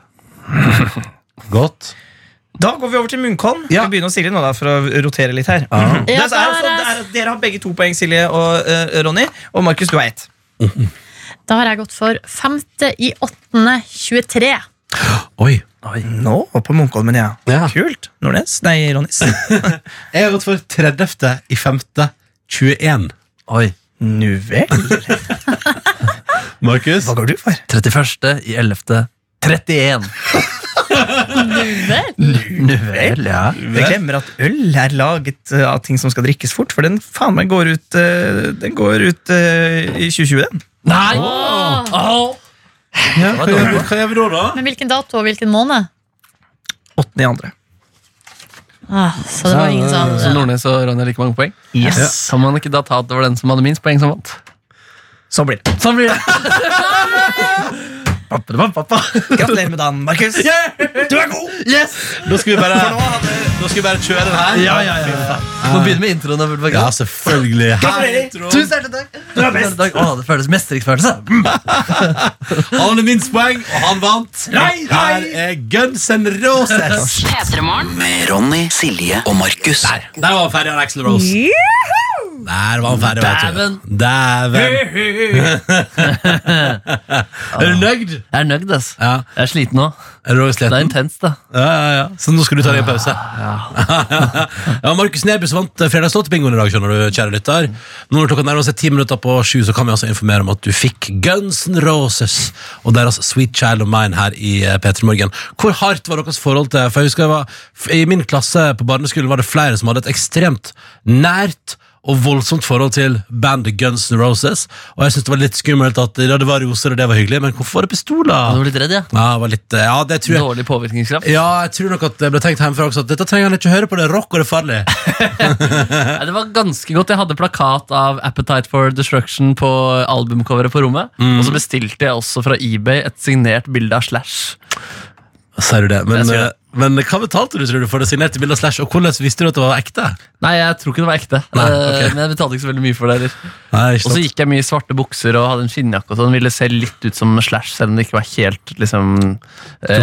S2: Godt.
S5: hva- Da går vi over til Munkholm.
S2: Ja.
S5: Vi begynner å stille nå da, for å rotere litt her. Det
S3: Ja,
S5: er altså,
S3: der
S5: det
S3: er-
S5: er, at dere har begge to poeng, Silje og eh, Ronny. Og Markus, du har ett.
S3: Da har jeg gått for 5. i 8. 23.
S2: Oi.
S5: Nå på Munkholmen, ja.
S2: Ja.
S5: Kult. Nordnes? Nei, Ronnys.
S2: Jeg har gått for 30. i 5. 21.
S4: Oi.
S5: nu vel.
S2: Markus?
S5: Hva går du for?
S4: 31. i 11. 31. Nu vel, ja.
S5: Jeg glemmer at øl er laget eh, av ting som skal drikkes fort, for den faen meg går ut, eh, den går ut eh, i 2020, den.
S4: Nei!
S3: Åh.
S4: Åh.
S2: Ja, hva gjør vi- hva gjør vi da, da?
S3: Men hvilken dato og hvilken måned?
S5: 8. i andre.
S3: Ah, så
S2: Sånn,
S3: det var ingen
S2: eh,
S3: som
S4: Så Nordnes og Ronny har like mange poeng?
S5: Yes.
S4: Ja. Kan man ikke da ta at det var den som hadde minst poeng, som vant?
S5: Så blir det.
S4: Sånn blir det.
S5: Gratulerer med dagen, Markus. Du er god!
S4: Yes!
S2: Da skal vi bare, da skal vi bare kjøre den her.
S4: Ja, ja, ja. Nå begynner vi med introen. av Ulvega.
S2: Ja, selvfølgelig.
S5: Gratulerer.
S2: Hei, Trond.
S4: Tusen hjertelig takk! Du er best! Å, det føles mestringsfølelse.
S2: Han hadde minst poeng, og han vant.
S5: Nei, nei.
S2: Her er Guns N' Roses.
S1: Med Ronny, Silje og Markus.
S2: Der, der var han ferdig, han Axl Rose. Der var han ferdig. vet du. Dæven. Er du nøyd?
S4: Jeg er nøyd, ass.
S2: Ja.
S4: Jeg er sliten nå.
S2: Er du også
S4: Det er
S2: sliten?
S4: intenst, da.
S2: Ja, ja, ja. Så nå skal du ta deg en pause. ja, Markus Nebus vant eh, fredagslåtbingoen i dag, skjønner du, kjære lytter. Nå når klokka nærmer seg ti minutter på sju, så kan vi altså informere om at du fikk Guns N' Roses og deres Sweet Child of Mine her i eh, P3 Morgen. Hvor hardt var deres forhold til For jeg husker jeg var, f- I min klasse på barneskolen var det flere som hadde et ekstremt nært og voldsomt forhold til bandet Guns N' Roses. Og jeg syntes det var litt skummelt at ja, det var roser og det var hyggelig, men hvorfor var det
S4: Du
S2: pistoler?
S4: var litt redd, ja?
S2: Ja, det var litt, eh, ja det tror jeg
S4: Dårlig påvirkningskraft.
S2: ja, jeg tror nok at det ble tenkt hjemmefra også at dette trenger han ikke høre på, det er rock og det er farlig.
S4: Nei, det var ganske godt. Jeg hadde plakat av Appetite for Destruction på albumcoveret på rommet.
S2: Mm.
S4: Og så bestilte jeg også fra eBay et signert bilde av Slash.
S2: Sier du det, men
S4: Jeg sier
S2: eh,
S4: det.
S2: Men hva betalte du tror du for det signerte bildet av Slash, og hvordan visste du at det var ekte?
S4: Nei, jeg tror ikke det var ekte.
S2: Nei,
S4: Eh,
S2: ok.
S4: Men jeg betalte ikke så veldig mye for det heller.
S2: Nei, ikke
S4: Og så
S2: sant.
S4: gikk jeg mye i svarte bukser og hadde en skinnjakke og sånn. Ville se litt ut som Slash, selv om det ikke var helt liksom
S2: Du,
S4: eh,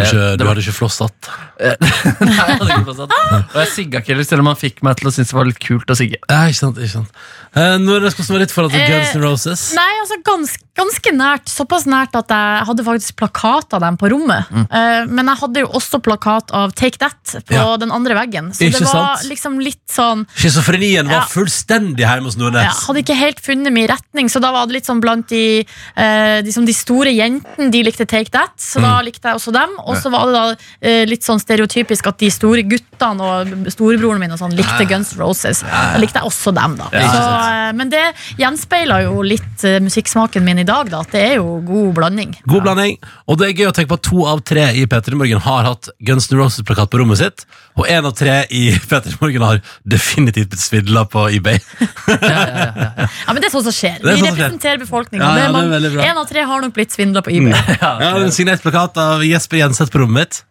S2: ikke, du
S4: det var-
S2: hadde ikke flossatt.
S4: Eh, Nei, jeg hadde ikke forstått. Og jeg sigga ikke heller, selv om han fikk meg til å synes det var litt kult å sigge.
S2: Ja, ikke sant, ikke sant. Eh, Nordnes, hvordan var ditt forhold til
S3: Eh,
S2: Guns N' Roses?
S3: Nei, altså ganske, ganske nært. Såpass nært at jeg hadde faktisk plakat av dem på rommet.
S2: Mm.
S3: Eh, men jeg hadde jo også plakat av Take That på
S2: Ja.
S3: den andre veggen. Så
S2: Ikke
S3: det var
S2: sant?
S3: liksom litt sånn
S2: Schizofrenien
S3: Ja.
S2: var fullstendig hjemme hos Nordnes.
S3: ja, Hadde ikke helt funnet min retning, så da var det litt sånn blant de, eh, de, som de store jentene. De likte Take That, så da
S2: Mm.
S3: likte jeg også dem. Og så var det da eh, litt sånn stereotypisk at de store guttene og storebroren min og sånn
S2: Ah.
S3: likte Guns N' Roses. Da likte jeg også dem, da.
S2: ikke
S3: så,
S2: sant.
S3: eh, men det gjenspeiler jo litt eh, musikksmaken min i dag, da. At det er jo god blanding.
S2: God blanding. Og det er gøy å tenke på at to av tre i Peter i Morgen har hatt Guns N' Roses-plakat på rommet sitt, og én av tre i Peter i Morgen har definitivt blitt svindla på eBay.
S3: Ja, men det er sånn som skjer.
S2: er
S3: Vi
S2: sånn som skjer.
S3: representerer befolkninga.
S2: Ja, ja, det er
S3: Det er
S2: veldig
S3: man-
S2: bra. Mm.
S3: En av tre har nok blitt svindla på eBay.
S2: Jeg har en signert plakat av Jesper Jenseth på rommet mitt.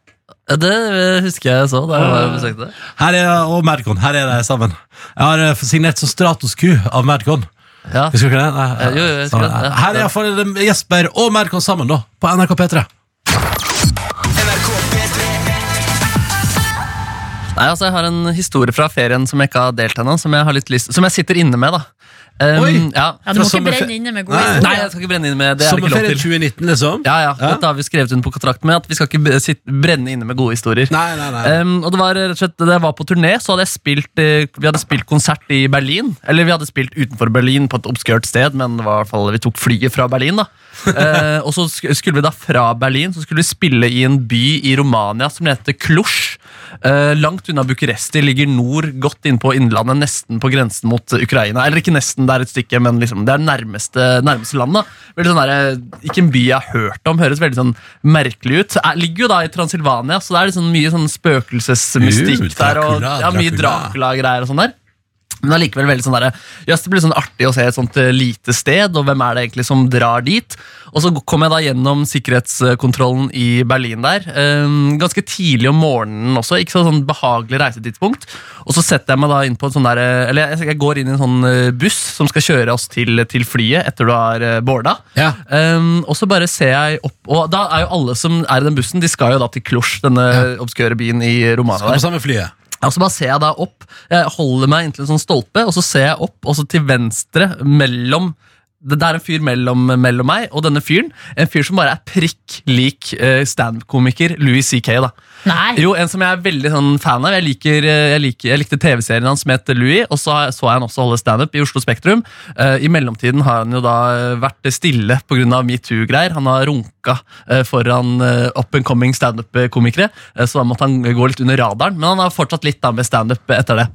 S4: Ja, Det eh, husker jeg så da jeg besøkte det.
S2: Her er, og Madcon. Her er de sammen. Jeg har eh, signert som Stratos Q av Madcon.
S4: Ja.
S2: Husker du ikke det? Nei,
S4: Eh, jo, jo, jeg husker
S2: sammen.
S4: det, ja.
S2: Her er iallfall Jesper og Madcon sammen, da, på NRK P3.
S4: Nei, altså Jeg har en historie fra ferien som jeg ikke har delt ennå, som jeg har litt lyst Som jeg sitter inne med, da. Um,
S2: Oi.
S4: Ja.
S3: Ja, du
S2: Fra
S3: må ikke
S2: sommerfe-
S3: brenne inne med gode
S2: Nei.
S4: Nei,
S3: historier.
S4: jeg skal ikke brenne inne med det. er det ikke lov
S2: Sommerferien
S4: til
S2: 2019, liksom?
S4: Ja, ja,
S2: Ja.
S4: Dette har vi skrevet under på kontrakt med, at vi skal ikke b- sitt- brenne inne med gode historier.
S2: Nei, nei, nei.
S4: Um, og det var rett og slett, Da jeg var på turné, så hadde jeg spilt eh, vi hadde spilt konsert i Berlin. Eller vi hadde spilt utenfor Berlin, på et obskurt sted, men det var i hvert fall, vi tok flyet fra Berlin. da. Eh, og så sk- skulle vi da fra Berlin så skulle vi spille i en by i Romania som heter Cluj. Eh, langt unna Bucuresti ligger nord, godt innpå innlandet, nesten på grensen mot eh, Ukraina. Eller ikke nesten, det er et stykke, men liksom, det er nærmeste, nærmeste land. da. Veldig sånn der, eh, Ikke en by jeg har hørt om, høres veldig sånn merkelig ut. Jeg ligger jo da i Transilvania, så det er liksom mye sånn spøkelsesmystikk
S2: Uh,
S4: der. og
S2: Dracula,
S4: ja, Mye
S2: Dracula.
S4: Dracula-greier og sånn der. Men allikevel veldig sånn der, jøss, det blir sånn artig å se et sånt eh, lite sted, og hvem er det egentlig som drar dit? Og så kom jeg da gjennom sikkerhetskontrollen i Berlin der, eh, ganske tidlig om morgenen også, ikke så sånn behagelig reisetidspunkt. Og så setter jeg meg da inn på en sånn der, eh, eller jeg, jeg går inn i en sånn eh, buss som skal kjøre oss til, til flyet etter du har eh, boarda.
S2: Ja.
S4: Um, og så bare ser jeg opp Og da er jo alle som er i den bussen, de skal jo da til Cluj, denne obskøre byen i Romania.
S2: På
S4: der.
S2: samme flyet.
S4: Ja, Og så bare ser jeg da opp, jeg holder meg inntil en sånn stolpe, og så ser jeg opp, og så til venstre, mellom det det er en fyr mellom, mellom meg og denne fyren. En fyr som bare er prikk lik eh, standup-komiker Louis CK. da
S3: Nei.
S4: Jo, En som jeg er veldig sånn, fan av. Jeg, liker, eh, jeg, liker, jeg likte TV-serien hans som het Louis, og så har jeg- så jeg han også holde standup i Oslo Spektrum. Eh, I mellomtiden har han jo da eh, vært stille pga. metoo-greier. Han har runka eh, foran eh, up and coming standup-komikere, eh, så da måtte han gå litt under radaren. Men han har fortsatt litt da med standup etter det.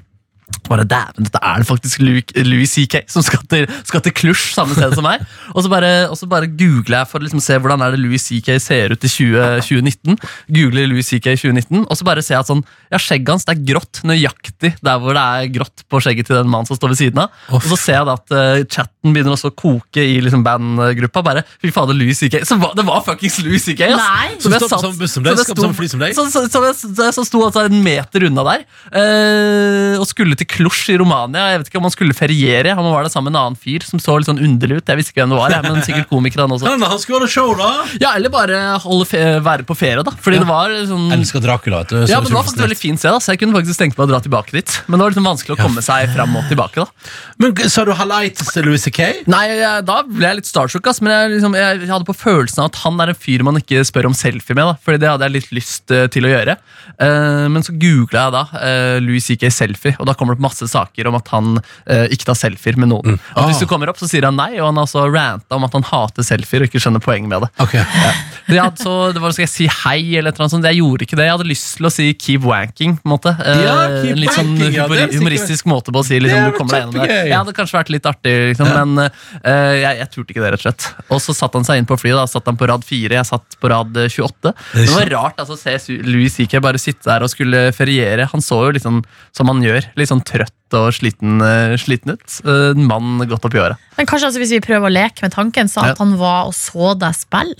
S4: Bare, Dæven, dette er det faktisk Louis- Louis CK som skal til, skal til Cluj, samme sted som meg. Og så bare, og så bare googler jeg for å liksom se hvordan er det Louis CK ser ut i 20, 2019. Googler Louis CK i 2019, og så bare ser jeg at sånn, ja, skjegget hans det er grått nøyaktig der hvor det er grått på skjegget til den mannen som står ved siden av.
S2: Å,
S4: Og så ser jeg da at eh, chatten begynner også å koke i liksom bandgruppa. Bare, fy fader, Louis CK. Så hva, det var fuckings Louis CK! ass.
S3: Nei.
S4: Som jeg
S2: Som skal på
S4: satt-
S2: samme buss som deg,
S4: som jeg
S2: skal på
S4: sto-
S2: samme fly som deg.
S4: så, så, så, jeg- så, jeg- så sto altså en meter unna der eh, og skulle til Cluj i Romania. Jeg vet ikke om han skulle feriere. Han var der sammen med en annen fyr som så litt sånn underlig ut. Jeg visste ikke hvem det var, jeg, men sikkert komiker han også.
S2: Kan hende han skulle holde show, da!
S4: Ja, Eller bare holde fe være på ferie, da. Fordi det var sånn
S2: Elsker Dracula, vet du.
S4: ja, men det var faktisk veldig fint sted, da, så jeg kunne faktisk tenkt meg å dra tilbake dit. Men det var liksom vanskelig å komme seg fram og tilbake. da
S2: Men sa du halai til Louis C.K.?
S4: Nei, jeg, Da ble jeg litt starstruck, ass, men jeg, liksom, jeg hadde på følelsen av at han er en fyr man ikke spør om selfie med. da Fordi det hadde jeg litt lyst eh, til å gjøre. Eh, men så googla jeg da eh, Louis CK selfie, og da kommer det opp masse saker om at han eh, ikke tar selfier med noen. Og hvis
S2: Ah.
S4: du kommer opp, så sier han nei, og han har altså ranta om at han hater selfier og ikke skjønner poenget med det.
S2: Ok,
S4: Det, jeg hadde så, det var, Skal jeg si hei, eller et eller annet sånt? Jeg gjorde ikke det. Jeg hadde lyst til å si 'keep wanking'. på en måte Eh,
S2: Ja, keep
S4: En Litt sånn
S2: wanking, ja,
S4: humor,
S2: det er sikkert-
S4: humoristisk måte på å si liksom,
S2: Det
S4: du
S2: er
S4: kommer deg gjennom det.
S2: kjempegøy.
S4: Jeg hadde kanskje vært litt artig, liksom, men eh, jeg, jeg turte ikke det, rett og slett. Og så satte han seg inn på flyet. da Satt han på rad 4, jeg satt på rad eh, 28. Det var rart altså, å se Su- Louis CK bare sitte der og skulle feriere. Han så jo litt sånn som han gjør, litt sånn trøtt og sliten, eh, sliten ut. Eh, En mann godt opp i åra.
S3: Men kanskje altså, hvis vi prøver å leke med tanken, så at han var og så deg spille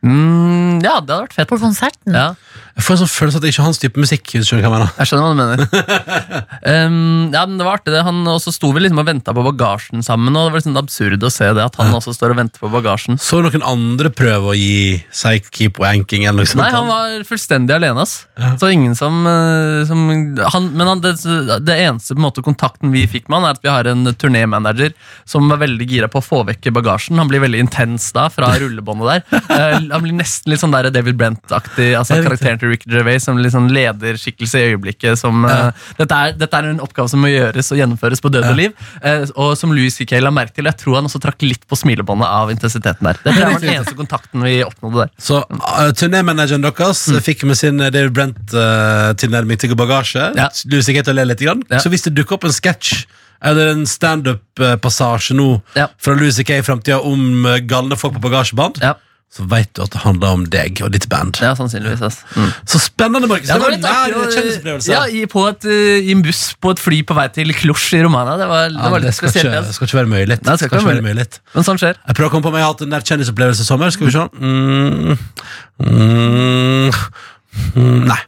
S4: Mm, ja, det hadde vært fett.
S3: på konserten.
S4: Ja.
S2: Jeg får en sånn følelse at det ikke er hans type musikk. hvis du skjønner hva jeg mener.
S4: Jeg skjønner hva du mener. um, ja, men det var artig det. Han også sto vi liksom og venta på bagasjen sammen. Og det var liksom absurd å se det, at han også står og venter på bagasjen.
S2: Så noen andre prøve å gi seg keep wanking eller noe sånt?
S4: Nei, han var fullstendig alene, ass. Så ingen som, eh, som han, Men han, det, det eneste på en måte kontakten vi fikk med han, er at vi har en turnémanager som er veldig gira på å få vekk bagasjen. Han blir veldig intens da, fra rullebåndet der. Eh, han blir nesten litt sånn der David Brent-aktig, altså
S2: Det er riktig.
S4: karakteren til Rick Gervais, som litt sånn lederskikkelse i øyeblikket. Som, eh, dette, er, dette er en oppgave som må gjøres og gjennomføres på døde liv. eh, og som Louis C.K. la merke til, jeg tror han også trakk litt på smilebåndet av intensiteten der. Det tror jeg var den eneste kontakten vi oppnådde der.
S2: Så uh, turnémanageren deres
S4: Mm.
S2: fikk med sin eh, David Brent-tilnærming til bagasje.
S4: Ja.
S2: Du sikkert å le litt grann.
S4: Ja.
S2: Så hvis det dukker opp en sketsj eller en standup-passasje nå
S4: Ja.
S2: fra Louis C.K. i framtida om eh, galne folk på bagasjeband,
S4: Ja.
S2: så veit du at det handler om deg og ditt band.
S4: Ja, sannsynligvis. ass. Mm.
S2: Så spennende, Markus! det var en nær kjendisopplevelse.
S4: ja, i, på et, eh, I en buss på et fly på vei til Klosj i Romania. Det var, det
S2: Ja,
S4: var litt
S2: det skal
S4: spesielt.
S2: ikke,
S4: ass.
S2: skal ikke være møyelig.
S4: Nei, det skal ikke være møyelig. Men sånn skjer.
S2: Jeg prøver å komme på om jeg har hatt en nær kjendisopplevelse i sommer. Skal vi se. Mm. Mm. Mm. Nei.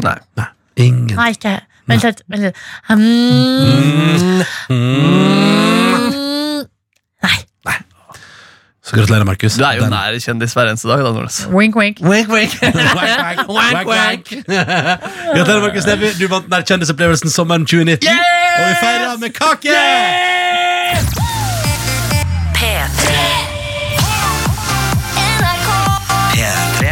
S4: Nei.
S2: Nei. Ingen.
S3: Nei, ikke Vent litt. Vent litt. Hmm. Hmm. Nei.
S2: Så gratulerer, Markus.
S4: Du er jo
S2: Den-
S4: nær kjendis hver eneste dag. da, Nordnes.
S3: Wink, wink.
S2: Wank, wank. Wank, wank.
S4: Wank, wank.
S2: Gratulerer, Markus Neby. Du vant den der kjendisopplevelsen sommeren 2019. Og vi feirer med kake!
S6: P3 NRK
S1: P3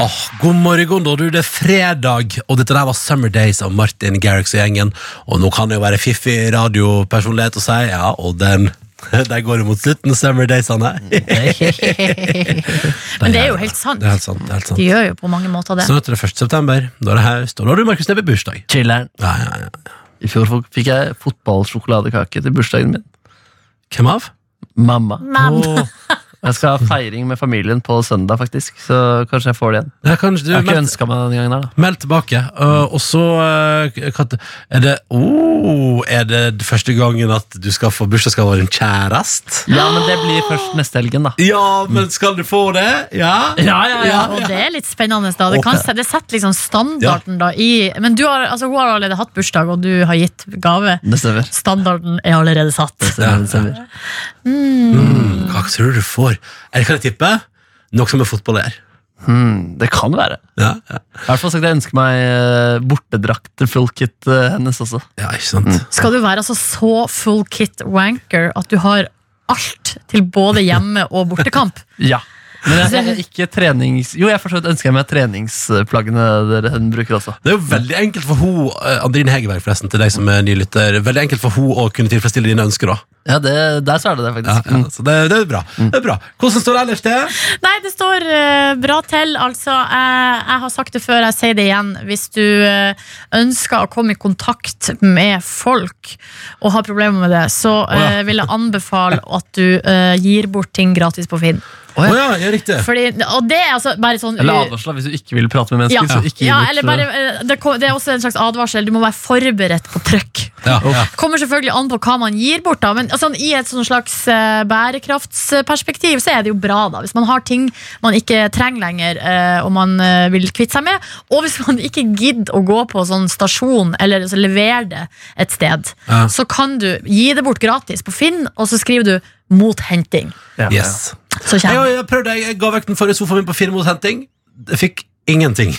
S2: Åh, god morgen, da, du. Det er fredag, og dette der var Summer Days av Martin Garrix og gjengen. Og nå kan jeg jo være fiffig radiopersonlighet og si ja, og den der går det mot slutten, Summer Days-ene.
S3: Men det er jo helt sant.
S2: Det er helt sant. det er helt sant.
S3: De gjør jo på mange måter det.
S2: Snart er det 1. september, da er det høst, og da har du Markus Neby bursdag.
S4: Chiller'n.
S2: Ja, ja, ja.
S4: I fjor fok- fikk jeg fotballsjokoladekake til bursdagen min.
S2: Hvem av?
S4: Mamma.
S3: Men
S2: Åh,
S4: Jeg skal ha feiring med familien på søndag, faktisk. Så kanskje jeg får det igjen.
S2: ja, kanskje du
S4: Jeg har ikke
S2: men-
S4: ønska meg den gangen her, da.
S2: Meld tilbake. øh, og så øh, kan- er det oh, Er det første gangen at du skal få bursdagsgave av din kjæreste?
S4: Ja, men det blir først neste helgen, da.
S2: Ja, men skal du få det? Ja?
S4: Ja, ja, ja.
S3: Og det er litt spennende. da Det, kan, se- det setter liksom standarden da i Men du har, altså, hun har allerede hatt bursdag, og du har gitt gave.
S4: Det stemmer.
S3: Standarden er allerede satt.
S4: Ja, det stemmer.
S2: Mm, Hva tror du du får? Eller kan jeg tippe? Noe som er fotball er.
S4: Hmm, det kan være.
S2: Ja, ja.
S4: I hvert fall sagt jeg ønsker meg eh, bortedrakt til folket eh, hennes også.
S2: ja, ikke sant?
S4: Mm.
S3: Skal du være altså så full kit wanker at du har alt til både hjemme- og bortekamp?
S4: Ja. Men jeg, jeg, ikke trenings... Jo, jeg forstår, ønsker jeg meg treningsplaggene dere hun bruker også.
S2: Det er jo veldig enkelt for hun øh, Andrine Hegerberg, forresten, til deg som er ny lytter. Veldig enkelt for hun å kunne tilfredsstille dine ønsker, da.
S4: Ja, det, Der så er det det,
S2: Ja,
S4: faktisk. Mm.
S2: ja, så det, det er bra. Det er bra. Hvordan står det ellers til?
S3: Nei, det står eh, bra til. Altså, jeg, jeg har sagt det før, jeg sier det igjen. Hvis du eh, ønsker å komme i kontakt med folk og har problemer med det, så
S2: ja.
S3: eh, vil jeg anbefale at du eh, gir bort ting gratis på Finn.
S2: Å ja, ja, riktig.
S3: Fordi, og det er altså bare sånn
S4: Eller advarsel da, hvis du ikke vil prate med mennesker. så ikke gi
S3: ja,
S4: bort,
S3: eller bare, eh, det, kom- det er også en slags advarsel. Du må være forberedt på trøkk.
S2: Ja, ja.
S3: Kommer selvfølgelig an på hva man gir bort, da, men sånn, i et sånn slags eh, bærekraftsperspektiv så er det jo bra, da. Hvis man har ting man ikke trenger lenger, eh, og man eh, vil kvitte seg med. Og hvis man ikke gidder å gå på sånn stasjon, eller så levere det et sted,
S2: Ja.
S3: så kan du gi det bort gratis på Finn, og så skriver du 'mot henting'.
S4: Ja, ja.
S2: Yes.
S3: Så
S2: Jeg,
S3: kommer
S2: jeg, jeg prøvde, jeg ga vekk den forrige sofaen min på fire mot henting. Jeg fikk ingenting.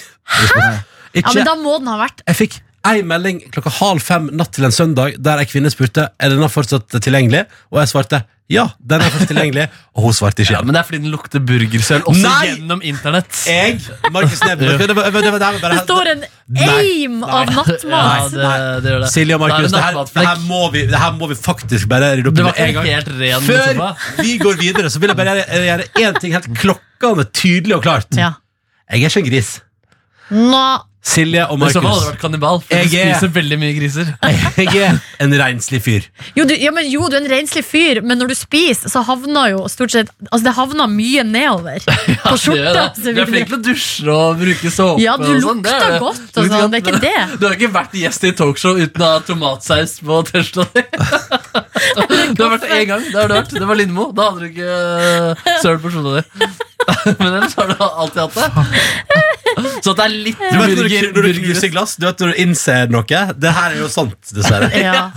S3: Ja,
S2: Ikke,
S3: men da må den ha vært
S2: Jeg fikk ei melding klokka halv fem natt til en søndag der ei kvinne spurte er denne fortsatt tilgjengelig, og jeg svarte ja, den er fortsatt tilgjengelig, og hun svarte ikke.
S4: Ja, men det er fordi den lukter burgersøl også
S2: Nei!
S4: gjennom internett.
S2: jeg, Markus Neby det, var- det, var- det, var- det, var
S3: Det
S2: bare-
S3: står en
S2: Nei.
S3: eim av
S4: Ja,
S3: nattmat!
S4: det, det gjør det.
S2: Silje og Markus,
S4: Da
S2: det,
S4: er
S2: her-
S4: det
S2: det, her
S4: nattmatflekk.
S2: må vi- det her må vi faktisk bare rydde opp
S4: Du
S2: i
S4: var
S2: med en
S4: ikke
S2: gang.
S4: helt ren.
S2: Før
S4: Før.
S2: vi går videre, så vil jeg bare gjøre- gjøre én ting helt klokkende tydelig og klart.
S3: Ja.
S2: Jeg er ikke en gris.
S3: Nå,
S2: Silje og
S4: I så fall hadde du
S2: Markus.
S4: vært kannibal. For du
S2: Jeg er-
S4: spiser veldig mye griser.
S2: Jeg er en renslig fyr.
S3: jo, du, ja, men jo, du er en renslig fyr, men når du spiser, så havner jo stort sett Altså, det havner mye nedover på
S4: Det
S3: skjorta.
S4: gjør det.
S3: så
S4: Du
S3: vil
S4: er
S3: det-
S4: flink til å dusje og bruke såpe.
S3: Ja, du
S4: og sånn, det er
S3: lukter
S4: det.
S3: godt og
S4: Lukter
S3: sånn, det er
S4: godt,
S3: ikke
S4: men-
S3: det.
S4: Du har ikke vært gjest i talkshow uten å ha tomatsaus på T-skjorta di. Du har vært der én gang. Det, har du vært. det var Lindmo. Da hadde du ikke søl på skjorta di. Men ellers har du alltid hatt det. Så at det er litt
S2: Du vet når du,
S4: burger,
S2: når du
S4: burger-
S2: knuser glass, du vet når du innser noe. Det her er jo sant, dessverre.
S3: Ja.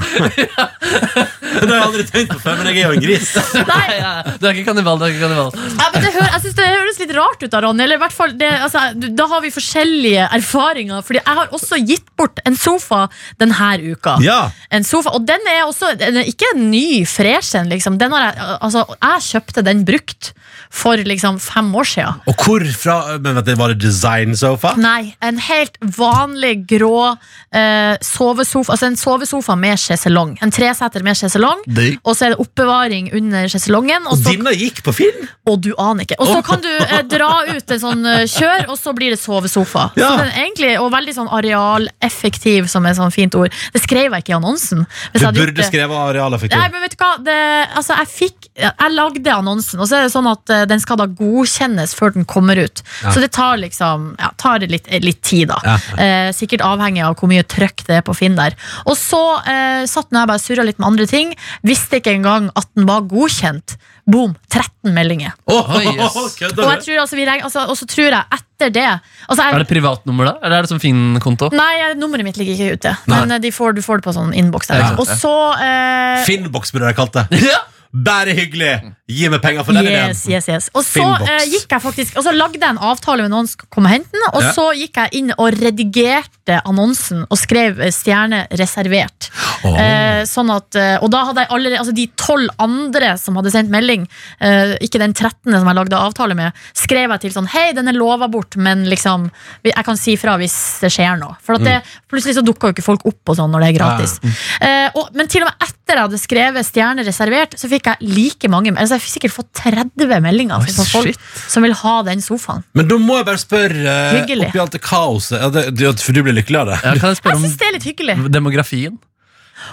S2: Det har jeg aldri tenkt på før, men jeg er jo en gris.
S3: Nei,
S4: Nei, nei, Du er ikke kannibal. Du er ikke kannibal.
S3: Ja, men det hø- jeg synes det høres litt rart ut da, Ronny. Eller i hvert fall, det, altså, du- da har vi forskjellige erfaringer. Fordi jeg har også gitt bort en sofa denne uka.
S2: Ja,
S3: En sofa, og den er også den er ikke en ny fresh en, liksom. Den har jeg, altså, jeg kjøpte den brukt for liksom fem år siden.
S2: Og hvor fra Men vet du, Var det design sofa?
S3: Nei, en helt vanlig grå eh, sovesofa. Altså en sovesofa med sjeselong. En treseter med sjeselong. Og så er det oppbevaring under sjeselongen. Og så
S2: Denne gikk på Finn!
S3: Og du aner ikke. Og så kan du eh, dra ut en sånn eh, kjør, og så blir det sovesofa. Så
S2: Ja.
S3: den er egentlig, Og veldig sånn arealeffektiv, som er et sånn fint ord. Det skrev jeg ikke i annonsen.
S2: Du
S3: Hvis jeg hadde gjort
S2: burde
S3: det-
S2: skrevet arealeffektiv.
S3: eh. Nei, men vet du hva? Det, altså, jeg fikk Jeg lagde annonsen, og så er det sånn at eh, den skal da godkjennes før den kommer ut. Så det tar liksom ja, tar det litt, eh, litt tid, da.
S2: Ja.
S3: Eh, sikkert avhengig av hvor mye trøkk det er på Finn der. Og så eh, satt den her bare og surra litt med andre ting. Visste ikke engang at den var godkjent. Boom! 13 meldinger.
S2: Åh,
S4: Oi, yes.
S2: kødder
S3: Og
S2: du?
S3: jeg tror, altså, vi, regner- altså, og så tror jeg etter det altså, jeg,
S4: Er det privatnummer, da? Eller er det sånn Finn-konto?
S3: Nei, jeg- nummeret mitt ligger ikke ute.
S2: Nei.
S3: Men eh, de får, du får det på sånn innboks. der.
S4: Ja, ikke
S3: Og så eh,
S2: Finnboks burde jeg kalt det.
S4: Ja.
S2: Bare hyggelig! Gi meg penger for den
S3: Yes,
S2: ideen.
S3: yes, yes. Og så
S2: Finnboks.
S3: eh, gikk jeg faktisk Og så lagde jeg en avtale med noen som kom og hente den. Og
S2: Ja.
S3: så gikk jeg inn og redigerte annonsen og skrev eh, 'stjerne reservert'.
S2: Åh.
S3: Eh, sånn at, eh, og da hadde jeg allerede altså De tolv andre som hadde sendt melding, eh, ikke den 13. som jeg lagde avtale med, skrev jeg til sånn Hei, den er lova bort, men liksom vi- jeg kan si fra hvis det skjer noe. For at det,
S4: Mm.
S3: plutselig så dukker jo ikke folk opp og sånn når det er gratis. Eh, og, men til og med etter jeg hadde skrevet 'Stjerne reservert', så fikk jeg like mange altså Jeg fikk sikkert fått 30 meldinger fra
S4: Oi,
S3: folk
S4: shit.
S3: som vil ha den sofaen.
S2: Men da må jeg bare spørre eh,
S3: Hyggelig.
S2: oppi alt det kaoset ja, det, det, For du blir lykkelig av det?
S4: Ja, kan jeg
S3: Jeg
S4: spørre
S3: syns det
S4: om
S3: er litt hyggelig.
S4: demografien?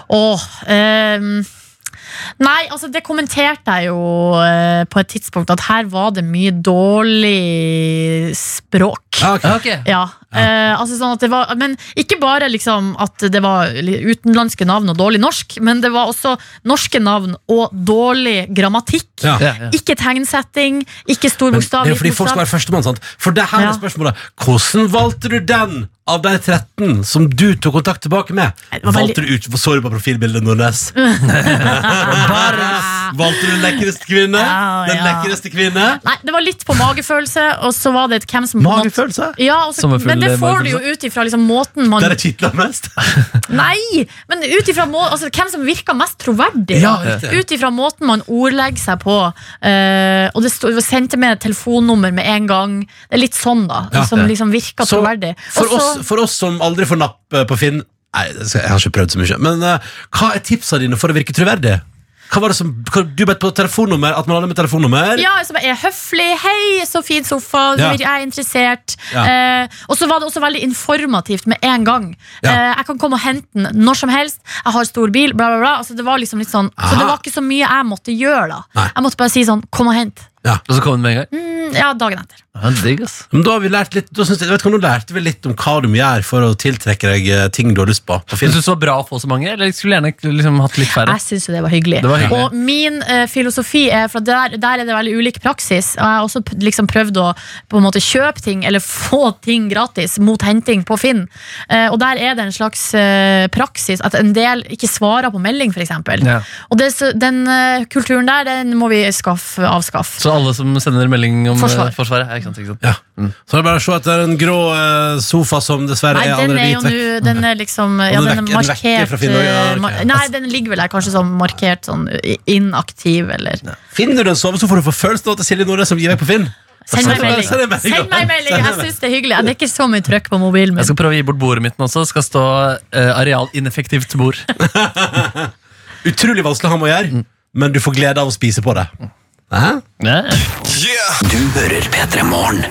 S3: Åh, ehm, Nei, altså det kommenterte jeg jo eh, på et tidspunkt at her var det mye dårlig språk.
S2: Ah, ok.
S4: Ja, ok.
S3: Ja, eh, altså sånn at det var Men ikke bare liksom at det var li- utenlandske navn og dårlig norsk, men det var også norske navn og dårlig grammatikk.
S2: Ja.
S4: Ja, ja.
S3: Ikke tegnsetting, ikke stor
S2: Men
S3: bokstav.
S2: det er jo
S3: liten
S2: fordi folk skal
S3: bokstav.
S2: være førstemann. sant? For det her
S3: Ja.
S2: er spørsmålet Hvordan valgte du den av de 13 som du tok kontakt tilbake med?
S3: det var veldig-
S2: Valgte du ut, Så du på profilbildet Nordnes? valgte du lekreste kvinne?
S3: Ja,
S2: Den
S3: ja.
S2: lekreste kvinne?
S3: Nei, det var litt på magefølelse, og så var det et hvem som på en måte-
S2: Magefølelse?
S3: Ja, og så-
S4: Sommerfugl-
S3: men det får du jo ut ifra liksom, måten man
S2: Der jeg kitla mest?
S3: Nei, men ut ifra må, altså, hvem som virker mest troverdig.
S2: Ja,
S3: da.
S2: riktig.
S3: ut ifra måten man ordlegger seg på. eh, og det sto, det sendte med et telefonnummer med en gang. Det er litt sånn, da.
S2: Ja.
S3: som liksom virker
S2: Så,
S3: troverdig.
S2: For,
S3: Og så-
S2: oss, for oss som aldri får napp eh, på Finn Nei, det skal- jeg har ikke prøvd så mye. Men eh, hva er tipsa dine for å virke troverdig? Hva var det som, hva, du bedt på telefonnummer, at man hadde med telefonnummer?
S3: Ja, som er høflig. 'Hei, så fin sofa.
S2: Ja.
S3: Jeg er interessert.'
S2: Ja.
S3: Eh, og så var det også veldig informativt med en gang.
S2: Ja.
S3: Eh, jeg kan komme og hente den når som helst. Jeg har stor bil, bla, bla, bla. Altså, det var liksom litt sånn, så det
S2: Aha.
S3: var ikke så mye jeg måtte gjøre da.
S2: Nei.
S3: Jeg måtte bare si sånn 'kom og hent'.
S4: Og så kom den med en gang.
S3: Mm, Ja, dagen etter.
S4: Ja, digg, ass.
S2: Men da har vi lært litt, da synes jeg, vet du hva, nå lærte vi litt om hva du må gjøre for å tiltrekke deg eh, ting du har lyst på. på Finn.
S4: Syns du det var bra å få så mange, eller skulle gjerne liksom hatt litt færre?
S3: Jeg syns jo det var hyggelig.
S4: Det var hyggelig.
S3: Og min eh, filosofi er For der, der er det veldig ulik praksis. Og jeg har også p- liksom prøvd å på en måte kjøpe ting, eller få ting gratis, mot henting på Finn. Eh, og der er det en slags eh, praksis at en del ikke svarer på melding, f.eks.
S4: Ja.
S3: Og det, så- den eh, kulturen der, den må vi skaffe, avskaffe.
S4: Så alle som sender melding om eh,
S3: Forsvar.
S4: Forsvaret? Ja, ikke sant, ikke sant.
S2: Ja. Så det er bare å se etter en grå eh, sofa som dessverre
S3: Nei,
S2: er
S3: den er
S2: allerede
S3: jo
S2: gitt
S3: nå
S2: vekk.
S3: Den er liksom ja,
S2: den er
S3: den er
S2: vekk- den er vekk
S3: markert
S2: fra Finn Norge, ja,
S3: eh, mar-
S2: ok.
S3: Nei, den ligger vel der kanskje som markert sånn i- inaktiv, eller
S2: Finner du en sovesofa du får følelsen av til Silje Nordnes som gir vekk på Finn?
S3: Send
S2: Send
S3: meg
S2: meg-
S3: melding.
S2: send meg melding.
S3: Send meg melding. Jeg
S2: Send meg-
S3: syns det er hyggelig. Det er ikke så mye trøkk på mobilen
S4: Jeg
S3: min.
S4: skal prøve å gi bort bordet mitt nå også. Det Skal stå eh, areal ineffektivt bord.
S2: Utrolig vanskelig å ha med å gjøre, men du får glede av å spise på det. Hæ?
S4: Ja.
S1: Du hører P3 Morgen.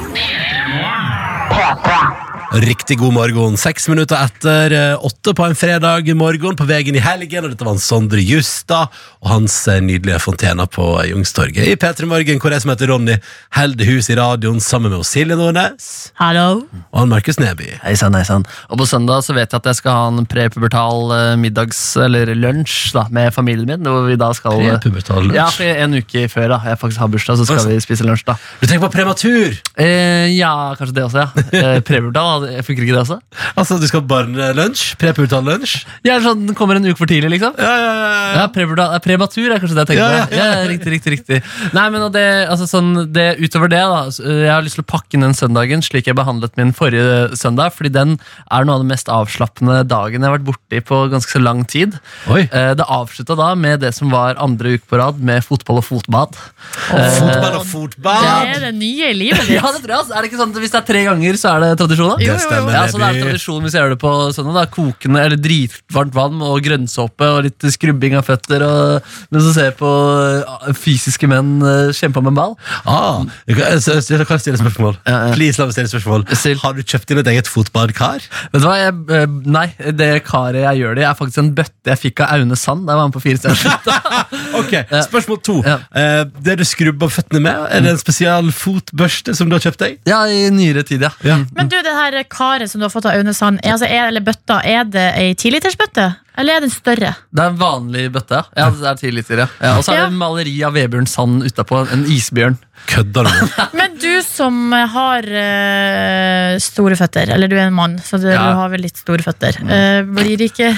S2: Riktig god morgen. Seks minutter etter eh, åtte på en fredag morgen på veien i helgen. Og dette var en Sondre Justad og hans eh, nydelige fontener på Jungstorget i P3 Morgen, hvor jeg som heter Ronny holder hus i radioen sammen med Silje Nordnes
S3: Hallo?
S2: og han Markus Neby.
S4: Hei sann, hei sann. Og på søndag så vet jeg at jeg skal ha en prepubertal eh, middags- eller lunsj da, med familien min. Hvor vi da skal
S2: Prepubertal lunsj?
S4: Ja, for en uke før da jeg faktisk har bursdag, så skal
S2: Altså.
S4: vi spise lunsj. da
S2: Du tenker på prematur!
S4: eh, Ja, kanskje det også, ja. Eh, prepubertal, da, funker ikke det også?
S2: Altså, du skal ha barnelunsj? Prepubertal lunsj?
S4: Ja, sånn, Den kommer en uke for tidlig, liksom.
S2: Ja, ja, ja,
S4: Ja,
S2: ja.
S4: prepubertal, eh, Prematur er kanskje det jeg tenker
S2: Ja,
S4: på. Ja, riktig, riktig, riktig Nei, men og det, altså, sånn, det, Utover det, da så, eh, jeg har lyst til å pakke inn den søndagen slik jeg behandlet min forrige søndag. Fordi den er noe av den mest avslappende dagen jeg har vært borti på ganske så lang tid.
S2: Oi.
S4: Eh, Det avslutta da med det som var andre uke på rad, med fotball og fotbad.
S2: Fotball og
S3: Det
S2: fotball!
S3: er det nye i livet ditt.
S4: Ja, det tror jeg, altså. Er det ikke sånn at Hvis det er tre ganger, så er det tradisjon?
S3: Jo,
S4: da?
S2: Det
S3: jo, jo.
S2: stemmer,
S4: Ja, så Det er
S2: Neby.
S4: tradisjon hvis jeg gjør det på søndag. da Kokende eller dritvarmt vann og grønnsåpe og litt skrubbing av føtter. Og, men så ser jeg på eh, fysiske menn eh, kjempe om en ball.
S2: Ah, jeg kan jeg- jeg kan stille spørsmål.
S4: Ja, ja.
S2: Please, la meg stille spørsmål.
S4: Still.
S2: Har du kjøpt inn et eget fotbadkar?
S4: Vet du hva? Jeg, eh, nei, det karet jeg gjør det i, er faktisk en bøtte jeg fikk av Aune Sand da jeg var med på Fire stjerner.
S2: Ok, Spørsmål to.
S4: Ja.
S2: Eh, det du skrubber føttene med, er det en spesial fotbørste som du har kjøpt deg?
S4: ja, i nyere tid, ja.
S2: Ja.
S3: Men du, det her karet som du har fått av Aune Sand, er, altså, er, eller bøtta, er det ei tilitersbøtte? Eller er den større?
S4: Det er en vanlig bøtte, ja. ja det er 10 liter, ja. ja og så er
S3: Ja.
S4: det maleri av Vebjørn Sand utapå. En isbjørn.
S2: Kødder du?
S3: Men du som har eh, store føtter, eller du er en mann, så du,
S4: Ja. Mm.
S3: du har vel litt store føtter, eh, blir det ikke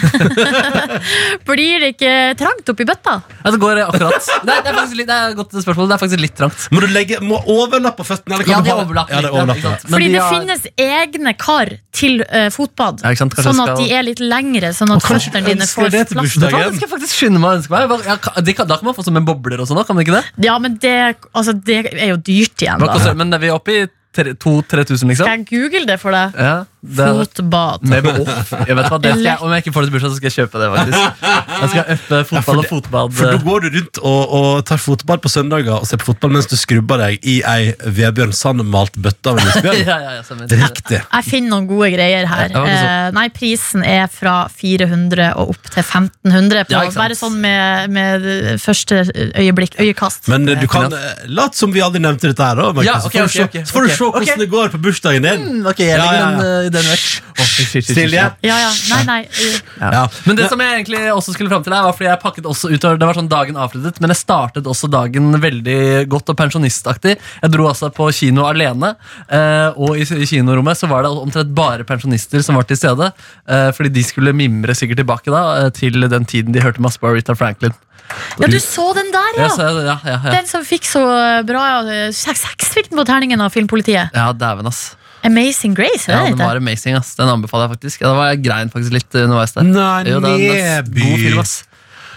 S3: Blir det ikke trangt oppi bøtta?
S4: Ja, det går akkurat. Nei, det er faktisk litt, det er et godt spørsmål. Det er faktisk litt trangt.
S2: Må du legge, må overlappe føttene? Eller kan
S4: Ja,
S2: du
S4: de
S2: ha-
S4: overlapper.
S2: Ja, det er
S4: litt,
S2: overlappet.
S4: ikke sant? Men
S3: Fordi
S4: de
S3: det
S4: har-
S3: finnes egne kar til eh, fotbad,
S4: Ja, ikke sant? Kanskje
S3: sånn
S4: jeg
S3: at
S4: skal-
S3: de er litt lengre, sånn at
S2: kanskje du
S3: føttene dine
S2: ønsker
S3: får
S2: det til
S3: plass.
S4: Vet du hva,
S2: Dagen.
S4: det skal jeg faktisk skynde meg å ønske meg. Hva- ja, ka- de kan- Da kan man få som en bobler og sånn, da, kan man ikke det?
S3: Ja, men det, altså, det er jo dyrt igjen,
S4: Hva
S3: da.
S4: koster- Men er vi oppe i 2000-3000, liksom?
S3: Skal jeg google det for deg?
S4: Ja, Eh, det er,
S3: Fotbad.
S4: med behov. Jeg vet hva, det skal jeg, om jeg ikke får det til bursdag, så skal jeg kjøpe det, faktisk. Jeg skal øppe fotball og
S2: det-
S4: fotbad.
S2: For da går du rundt og, og tar fotball på søndager og ser på fotball mens du skrubber deg i ei Vebjørn Sand-malt bøtte av en isbjørn?
S4: Ja, ja, ja, stemmer.
S2: Riktig.
S3: Jeg finner noen gode greier her.
S4: Ja, det var ikke
S3: eh, nei, Prisen er fra 400 og opp til 1500. På,
S4: Ja, ikke sant.
S3: bare sånn med, med eh, første øyeblikk, øyekast.
S2: Men eh, du kan eh, late som vi aldri nevnte dette her, da. Markus,
S4: Ja,
S2: så
S4: ok,
S2: får du
S4: ok,
S2: se-
S4: ok,
S2: så får du
S4: ok.
S2: se hvordan
S4: Ok.
S2: det går på bursdagen din.
S4: Mm, Ok, jeg
S2: Ja,
S4: legger
S2: ja, ja.
S4: den, eh, i den vekk. Å, shit, shit, shit, shit,
S2: Silje?
S4: shit.
S3: Ja, ja. Nei, nei. eh,
S2: Ja.
S4: Men det som jeg egentlig også skulle frem til her, var fordi jeg pakket også utover, det var sånn dagen avsluttet, men jeg startet også dagen veldig godt og pensjonistaktig. Jeg dro altså på kino alene, eh, og i, i kinorommet så var det omtrent bare pensjonister som var til stede, eh, fordi de skulle mimre sikkert tilbake da, eh, til den tiden de hørte masse på Rita Franklin.
S3: Ja, du så den der,
S4: Ja,
S3: ja!
S4: så, jeg- ja, ja, ja.
S3: Den som fikk så bra eh, Seks seks fikk den på terningen av Filmpolitiet.
S4: Ja, dæven, ass.
S3: Amazing Grace,
S4: Ja,
S3: er det
S4: den
S3: det
S4: var
S3: heter?
S4: amazing, ass. Den anbefaler jeg faktisk. Ja, da var jeg grein faktisk litt underveis der.
S2: Nei,
S4: Jo, det er en
S2: nedby.
S4: god film, ass.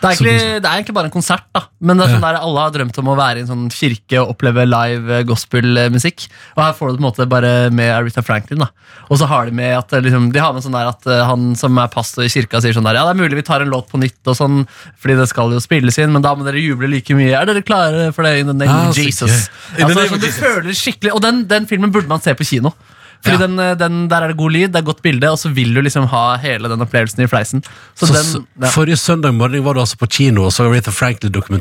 S4: Det er,
S2: Så
S4: egentlig, det er egentlig bare en konsert, da. Men det er sånn der alle har drømt om å være i en sånn kirke og oppleve live eh, gospelmusikk. Og her får du det på en måte bare med Aretha Franklin. da Og så har de med at eh, liksom, De har med sånn der at eh, han som er pastor i kirka, sier sånn der Ja, det er mulig vi tar en låt på nytt, og sånn fordi det skal jo spilles inn, men da må dere juble like mye. Er dere klare for det? In the name
S2: Ah,
S4: of
S2: så
S4: Jesus.
S2: gøy. In the
S4: Altså,
S2: name of
S4: sånn, du
S2: Jesus.
S4: føler skikkelig Og den, den filmen burde man se på kino. Fordi
S2: Ja.
S4: den, eh, den, Der er det god lyd, det er godt bilde, og så vil du liksom ha hele den opplevelsen i fleisen. Så,
S2: Så,
S4: den,
S2: s- Forrige søndag morgen var du altså på kino og så Aretha
S4: Sammen med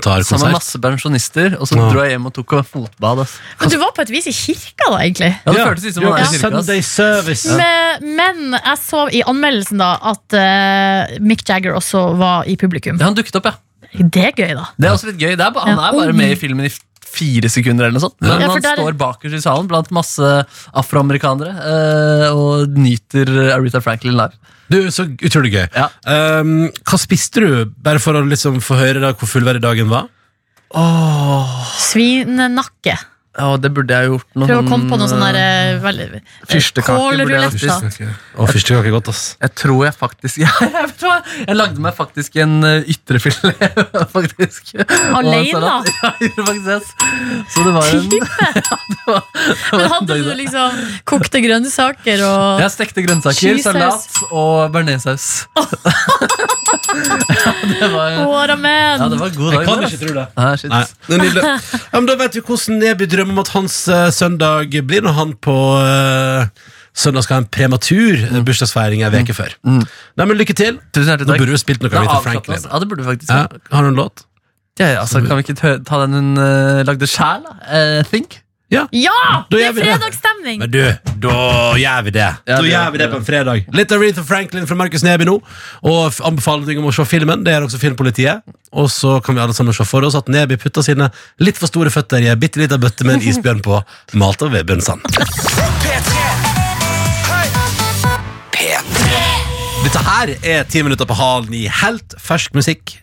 S2: Franklin-dokumentarkonsert.
S4: masse pensjonister, og så
S2: Ja.
S4: dro jeg hjem og tok og fotbad. ass.
S3: Men du var på et vis i kirka, da, egentlig.
S4: Ja, det føltes litt som
S2: du
S4: man
S2: var
S4: er
S2: på
S4: i kirka. ass.
S2: Sunday service.
S3: Men, men jeg så i anmeldelsen da at eh, Mick Jagger også var i publikum.
S4: Ja, han dukket opp, ja.
S3: Det er gøy, da.
S4: Det er også litt gøy. Det er, ba- han
S3: Ja.
S4: er bare med i filmen i f- fire sekunder, eller noe sånt. Men
S3: Ja, for
S4: han
S3: der er-
S4: står bakerst i salen blant masse afroamerikanere eh, og nyter Aretha Franklin live.
S2: Du, så utrolig gøy.
S4: Ja.
S2: Um, hva spiste du, bare for å liksom få høre da hvor fullverdig dagen var?
S3: Svinenakke.
S4: Ja, det burde jeg gjort. noe
S3: Prøv å
S4: sånn,
S3: komme på noe sånn der
S4: eh,
S3: eh, veldig-
S4: fyrstekake burde jeg
S3: Kålruletter.
S4: spist.
S2: Å, fyrstekake er godt, ass.
S4: Jeg tror jeg faktisk ja, jeg, vet hva, jeg lagde meg faktisk en eh, ytrefilet, faktisk.
S3: Alene?
S4: Og salat. Ja, jeg gjorde faktisk det. ass. Så det var en
S3: Men hadde du liksom kokte grønnsaker og
S4: Jeg stekte grønnsaker,
S3: Cheese
S4: salat og bearnéssaus. ja, det var ja,
S3: Åramen!
S4: det var en god dag.
S2: Jeg kan
S4: det,
S2: ikke
S4: ass.
S2: tro det.
S4: Nei, shit.
S2: Nei, det er nydelig. Ja, men da vet vi hvordan Neby drømmer om at hans eh, søndag blir når han på eh, Søndag skal ha en prematur eh, bursdagsfeiring en uke før. Nei, men lykke til!
S4: Tusen hjertelig
S2: Nå
S4: takk.
S2: burde du spilt noe
S4: Det er
S2: Aretha
S4: avslappende,
S2: Franklin.
S4: altså. Ja, det burde du faktisk.
S2: Ja,
S4: Ja.
S2: har du en låt?
S4: Ja, ja, altså, kan vi ikke ta- ta den hun eh, lagde sjæl, da? Eh, think?
S2: Ja!
S3: Ja!
S2: Da
S3: Det
S2: gjør
S3: er
S2: vi det.
S3: fredagsstemning!
S2: Men du, da gjør vi det.
S4: Ja,
S2: da
S4: det
S2: gjør
S4: gjør
S2: vi det på en fredag. Litt Aretha Franklin fra Markus Neby nå, og f- anbefaling om å se filmen. Det er også Filmpolitiet. Og så kan vi alle sammen se for oss at Neby putter sine litt for store føtter i ei bitte lita bøtte med en isbjørn på, malt av Vebjørn Sand. Dette her er ti minutter på halen i helt fersk musikk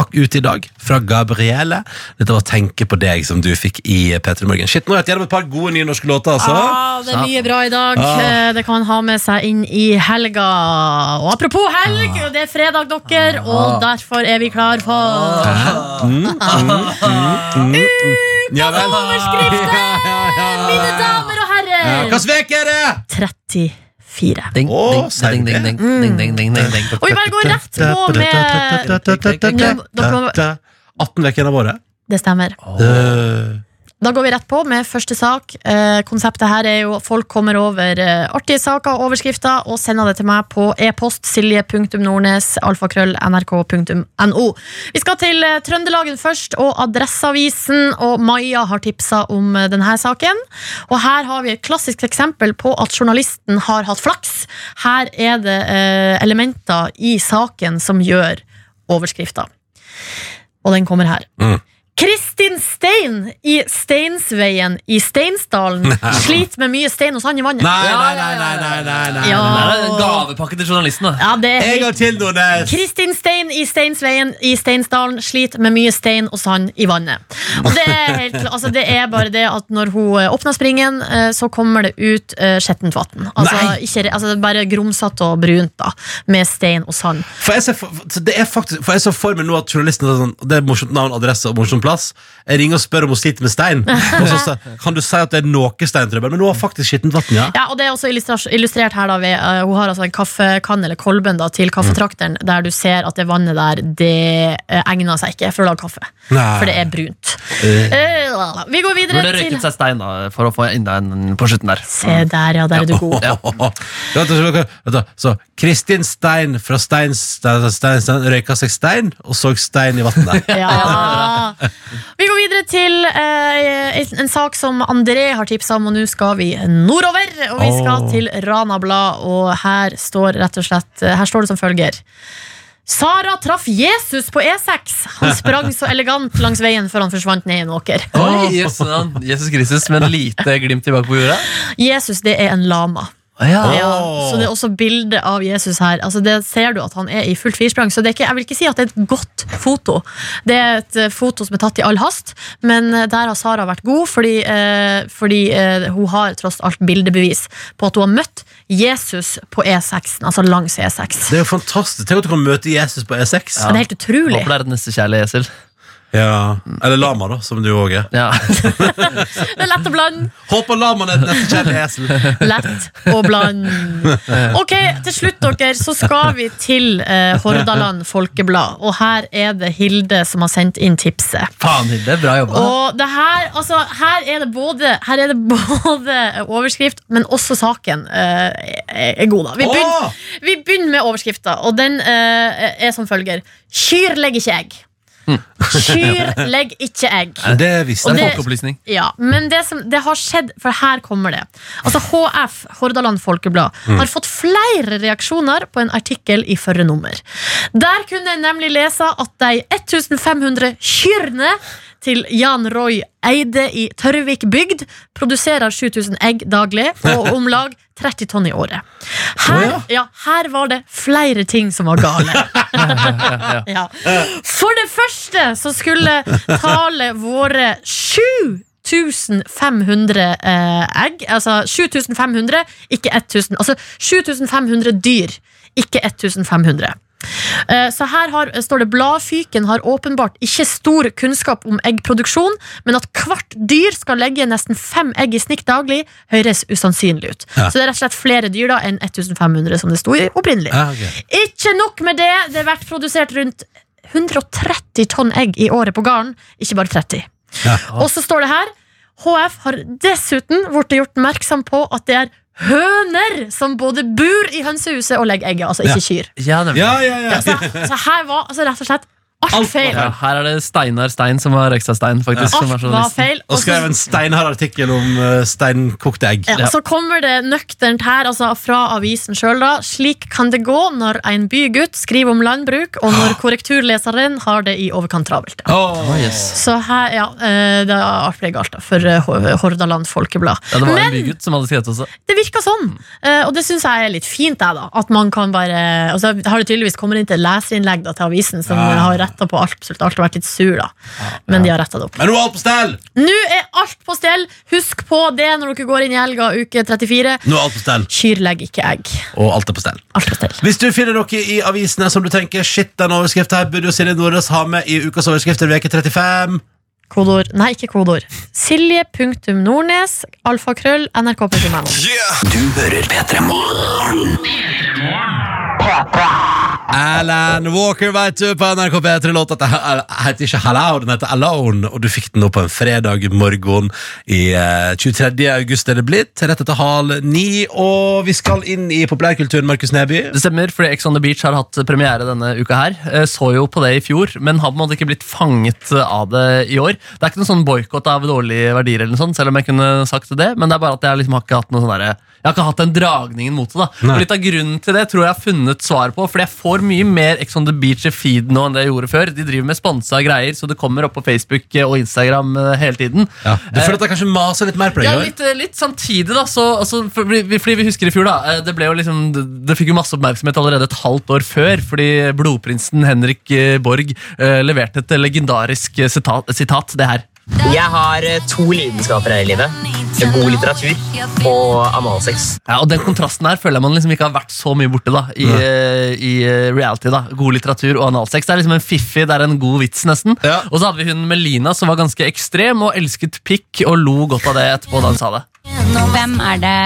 S2: ak- ute i dag fra Gabriele. Dette var 'Tenke på deg' som du fikk i P3 Morgen. Shit, nå har jeg vært gjennom et par gode nye norske låter, altså.
S3: Ah, det er mye bra i dag.
S2: Ah.
S3: Eh, Det kan han ha med seg inn i helga. Og apropos helg, det er fredag, dere, og derfor er vi klar for
S2: Ja vel.
S3: overskriften, mine damer og
S2: Ja, Hva
S3: herrer!
S2: svek er det?
S3: 34.
S4: Ding,
S2: Å,
S4: ding,
S2: ser
S4: ding,
S2: du
S4: ding,
S2: det? Mm.
S4: ding, ding, ding, ding, ding, ding.
S3: Og vi bare går rett på med
S2: 18 uker av året.
S3: Det stemmer.
S2: Øh,
S3: Da går vi rett på med første sak. Eh, konseptet her er jo folk kommer over eh, artige saker og overskrifter og sender det til meg på e-post silje.nordnes alfakrøll nrk.no. Vi skal til eh, Trøndelagen først og Adresseavisen, og Maja har tipsa om eh, denne saken. Og her har vi et klassisk eksempel på at journalisten har hatt flaks. Her er det eh, elementer i saken som gjør overskrifta. Og den kommer her.
S2: Mm.
S3: Kristin Stein i Steinsveien i Steinsdalen sliter med mye stein og sand i vannet.
S2: Nei, nei, nei, nei, nei, nei, nei.
S3: Ja.
S4: Det er en gavepakke til journalisten, da.
S3: Ja, det er
S2: En gang til, Nordnes.
S3: Kristin Stein i Steinsveien i Steinsdalen sliter med mye stein og sand i vannet. Og det er, helt, kla- altså det er bare det at når hun eh, åpner springen, eh, så kommer det ut eh, skjettent vann. Altså, ikke re- altså det er bare grumsete og brunt, da, med stein og sand.
S2: For jeg, ser for, for- så det er faktisk, for jeg så for meg nå at journalisten er sånn, Det er morsomt navn, adresse og morsom plass. Jeg ringer og spør om hun sliter med stein. Og så sa- kan du si at det er noe steintrøbbel, men hun har faktisk skittent vann. Ja.
S3: Ja, og det er også illustras- illustrert her da ved, eh, Hun har altså en kaffekann eller kolben da, til kaffetrakteren Der du ser at det vannet der Det eh, egner seg ikke for å lage kaffe
S2: Nei.
S3: For det er brunt
S2: Eh.
S3: Eh, la, la. Vi går videre
S4: Burde
S3: til
S4: røyket seg stein da, for å få enda en på slutten der.
S3: Se der, ja, der er du god
S2: Vet du, vet du, vet du, Så Kristin Stein fra Stein, Stein, Stein, Stein røyka seg stein og så stein i vannet.
S3: ja. Vi går videre til eh, en- en sak som André har tipsa om, og nå skal vi nordover. Og vi skal
S2: Åh.
S3: til Rana Blad, og her står rett og slett eh, Her står det som følger. Sara traff Jesus på E6. Han sprang så elegant langs veien før han forsvant ned i en åker.
S4: Oi, jøss, sånn. Jesus Kristus med en lite glimt tilbake på jorda.
S3: Jesus, det er en lama.
S4: Å, Ja.
S2: Åh.
S3: Ja, så det er også bilde av Jesus her. Altså, det ser du at han er i fullt firsprang. Så det er ikke, jeg vil ikke si at det er et godt foto. Det er et eh, foto som er tatt i all hast, men eh, der har Sara vært god, fordi, eh, fordi eh, hun har tross alt bildebevis på at hun har møtt Jesus på E6, altså langs E6.
S2: Det er jo fantastisk. Tenk at du kan møte Jesus på E E6.
S3: Det er helt utrolig.
S4: Håper det er et nestekjærlig esel.
S2: Ja. Eller lama, da, som du òg er.
S4: Ja.
S3: Det er lett å blande.
S2: Håper lamaen er et nestekjærlig esel.
S3: Lett og bland. Ok, til slutt dere, så skal vi til eh, Hordaland Folkeblad. Og her er det Hilde som har sendt inn tipset.
S4: Faen, Hilde. Bra jobba.
S3: Og det her, altså, her, er det både, her er det både overskrift, men også saken eh, er, er god, da. Vi begynner,
S2: Åh!
S3: vi begynner med overskrifta, og den eh, er som følger. Kyr legger ikke egg. Kyr legger ikke egg.
S2: Men Hm. Det visste jeg.
S4: Det er
S3: det-
S4: folkeopplysning.
S3: Ja, men det, som, det har skjedd, for her kommer det. Altså HF, Hordaland Folkeblad, har fått flere reaksjoner på en artikkel i førre nummer. Der kunne en nemlig lese at de 1500 kyrne til Jan Roy Eide i Tørvik bygd produserer 7000 egg daglig og om lag 30 tonn i året. Her, ja, her var det flere ting som var gale. Ja. For det første så skulle tale våre 7500 eh, egg, altså 7500, ikke 1000. Altså 7500 dyr, ikke 1500. Eh, Så her har, står det Bladfyken har åpenbart ikke stor kunnskap om eggproduksjon, men at hvert dyr skal legge nesten fem egg i snitt daglig, høres usannsynlig ut. Så det er rett og slett flere dyr da enn 1500, som det sto i opprinnelig.
S2: Ja, ok.
S3: Ikke nok med det, det har vært produsert rundt 130 tonn egg i året på gården, ikke bare 30.
S2: Ja.
S3: Og så står det her HF har dessuten blitt gjort oppmerksom på at det er høner som både bor i hønsehuset og legger egget. Altså ikke kyr.
S4: Ja, nemlig.
S2: Ja, ja, ja.
S3: Så, så her var altså, rett og slett alt,
S2: Alt var
S3: feil.
S4: Ja, her er det Steinar Stein som var Rekstad-Stein, faktisk. Som
S3: Alt var
S4: journalisten.
S3: feil.
S2: Og skrev en steinhard artikkel om eh, steinkokte egg.
S3: Ja, Så kommer det nøkternt her, altså fra avisen sjøl, da. Slik kan det gå når en bygutt skriver om landbruk, og når korrekturleseren har det i overkant travelt.
S2: Åh,
S3: Så her, ja, eh, det er artig galt, da, for eh, Hor- Hordaland Folkeblad.
S4: Ja, det var
S3: Men
S4: en bygutt som hadde skrevet også.
S3: det virker sånn, eh, og det syns jeg er litt fint, jeg, da. At man kan bare altså, jeg Har det tydeligvis kommet inn til leserinnlegg da, til avisen, som
S2: Ja.
S3: har retta på alt, absolutt alt og vært litt sur, da. Men de har retta det opp.
S2: Men nå er alt på stell!
S3: Nå er alt på stell! Husk på det når dere går inn i helga, uke 34.
S2: Nå er alt på stell,
S3: Kyr legger ikke egg.
S2: og alt er på stell.
S3: Alt på stell.
S2: Hvis du finner noe i avisene som du tenker Shit, den overskriften her burde jo Silje Nordnes ha med i ukas overskrifter veke 35.
S3: Kodeord Nei, ikke kodeord. Silje.nordnes, alfakrøll, nrk.no.
S1: Du hører P3 Morgen.
S2: Alan Walker, vet du, på NRK P3 låta Det heter ikke Hello, den heter Alone, og du fikk den nå på en fredag morgen i eh, 23. august er det blitt, rett etter hal ni, og vi skal inn i populærkulturen, Markus Neby.
S4: Det stemmer, fordi Ex on the Beach har hatt premiere denne uka her. Eh, Så jo på det i fjor, men har på en måte ikke blitt fanget eh, av det i år. Det er ikke noen sånn boikott av dårlige verdier, eller noe sånt, selv om jeg kunne sagt det. Men det er bare at jeg liksom har ikke hatt noe sånn derre- jeg har ikke hatt den dragningen mot det. da.
S2: Nei.
S4: Og Litt av grunnen til det tror jeg jeg har funnet svar på, fordi jeg får mye mer Ex on the Beach i feed nå enn det jeg gjorde før. De driver med sponsa greier, så det kommer opp på Facebook og Instagram eh, hele tiden.
S2: Ja. Du føler at jeg kanskje maser litt mer på deg?
S4: Ja,
S2: i år?
S4: litt, eh, litt samtidig, da. Så, altså, for, vi- fordi vi husker i fjor, da. eh, Det, ble jo liksom, det, det fikk jo masse oppmerksomhet allerede et halvt år før, fordi blodprinsen Henrik eh, Borg eh, leverte et legendarisk eh, sitat, sitat det her.
S7: Jeg har eh, to lidenskaper her i livet. God litteratur og analsex.
S4: Ja, og Den kontrasten her føler jeg man liksom ikke har vært så mye borte da i, eh, i eh, reality. da God litteratur og analsex. Det er liksom en fiffig, det er en god vits, nesten.
S2: Ja.
S4: Og så hadde vi hun Melina, som var ganske ekstrem og elsket pikk og lo godt av det etterpå da hun sa det.
S8: Hvem er det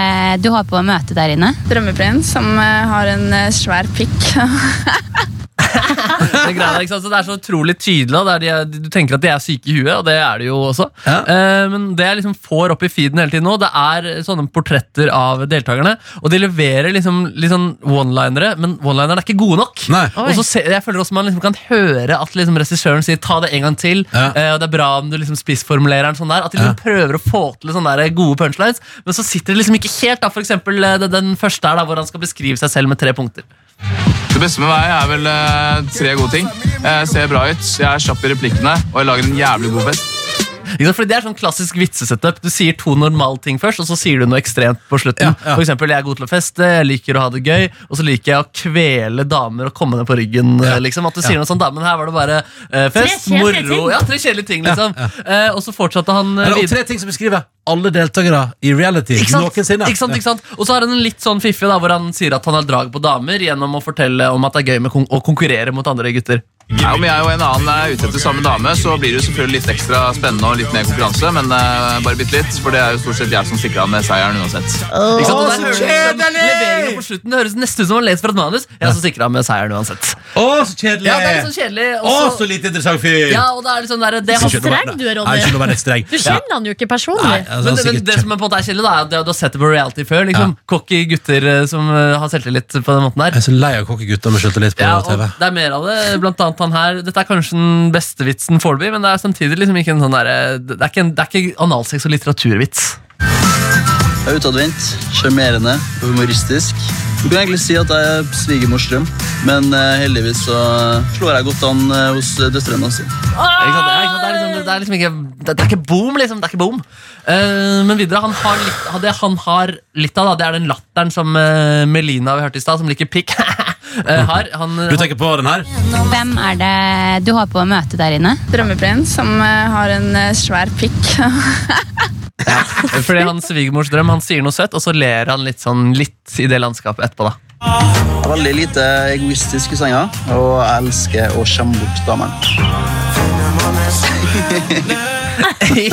S8: du har på å møte der inne?
S9: Drømmeprins som eh, har en eh, svær pikk.
S4: Det, greia, der, ikke sant? Så det er så utrolig tydelig. og Det er de, du tenker at de er syke i huet, og det er de jo også.
S2: Ja.
S4: Eh, men det jeg liksom får opp i feeden hele tiden nå, det er sånne portretter av deltakerne. Og de leverer liksom, litt sånn one-linere, men one-linerne er ikke gode nok.
S2: Nei.
S4: Og så ser, jeg føler også man liksom kan høre at liksom regissøren sier 'ta det en gang til',
S2: Ja.
S4: eh, og det er bra om du liksom spissformulerer den sånn der. At de liksom prøver å få til sånne der gode punchlines, men så sitter det liksom ikke helt. da For eksempel eh, den- den første her, da, hvor han skal beskrive seg selv med tre punkter.
S10: Det beste med meg er vel eh, tre gode ting. Jeg ser bra ut, jeg er kjapp i replikkene, og jeg lager en jævlig god fest.
S4: Ikke sant? Fordi Det er sånn klassisk vitsesetup. Du sier to normale ting først, og så sier du noe ekstremt på slutten.
S2: Ja, ja.
S4: For eksempel, jeg er god til å feste, jeg liker å ha det gøy, og så liker jeg å kvele damer og komme ned på ryggen. eh, Liksom. At du sier noe sånt, da, men her var det bare eh, fest,
S3: Tre kjedelige
S4: moro
S3: ting.
S4: Ja, tre kjedelige ting, liksom. Eh, og så fortsatte han eh,
S2: Eller, og
S4: videre.
S2: tre ting som beskriver alle deltakere i reality
S4: Ikke sant?
S2: noensinne.
S4: Ikke sant, ikke sant? Og så har han en litt sånn fiffig da, hvor han sier at han har drag på damer gjennom å fortelle om at det er gøy med kon å konkurrere mot andre gutter.
S10: Nei, om jeg og en annen er ute etter samme dame, så blir det jo selvfølgelig litt ekstra spennende og litt mer konkurranse, men eh, bare bitte litt, for det er jo stort sett jeg som stikker av med seieren uansett.
S4: Ikke sant?
S2: Åh,
S4: Og der hører
S2: så
S4: du liksom
S2: kjedelig!
S4: leveringen på slutten. Det høres nesten ut som han leser fra et manus. Jeg er så sikker av med seieren uansett.
S2: Å, så kjedelig!
S4: Ja, det er litt sånn kjedelig.
S2: Å,
S4: og
S2: så
S4: så-
S2: lite interessant fyr!
S4: Ja, og det er litt sånn der, det har,
S2: Ikke
S4: men,
S2: noe verre-
S3: Streng du er, Ronny.
S2: Nei, ikke noe verre streng.
S3: Du kjenner han jo ikke
S2: Nei,
S3: personlig.
S2: altså, han er
S4: det, men
S2: sikkert
S4: det som på en måte er kjedelig, da, er at du har sett det på reality før. liksom Cocky gutter eh, som eh, har selvtillit på den måten
S2: Jeg
S4: her.
S2: er så lei av kokkegutter med selvtillit på
S4: Ja, og
S2: TV.
S4: det er mer av det. Blant annet han her Dette er kanskje den beste vitsen foreløpig, men det er samtidig liksom ikke en sånn der, eh, Det er ikke, en- det er ikke analsex og litteraturvits.
S11: Jeg er utadvendt, sjarmerende og humoristisk. Du kan egentlig si at jeg er svigermors drøm, men eh, heldigvis så slår jeg godt an eh, hos døtrene hans.
S4: Ikke sant? Det, er, ikke sant? Det, er liksom, det er liksom ikke Det, det er ikke boom, liksom. Det er ikke boom. Eh, men videre, han har litt, han- det han har litt av, da, det er den latteren som eh, Melina vi hørte i stad, som liker pikk, eh, har. Han,
S2: Du tenker på den her?
S8: Hvem er det du har på å møte der inne?
S9: Drømmeprins som eh, har en eh, svær pikk.
S4: Fordi han svigermors drøm, han sier noe søtt, og så ler han litt sånn litt i det landskapet etterpå, da.
S11: Jeg er veldig lite egoistisk i senga, og jeg elsker å skjemme bort damene.
S4: Det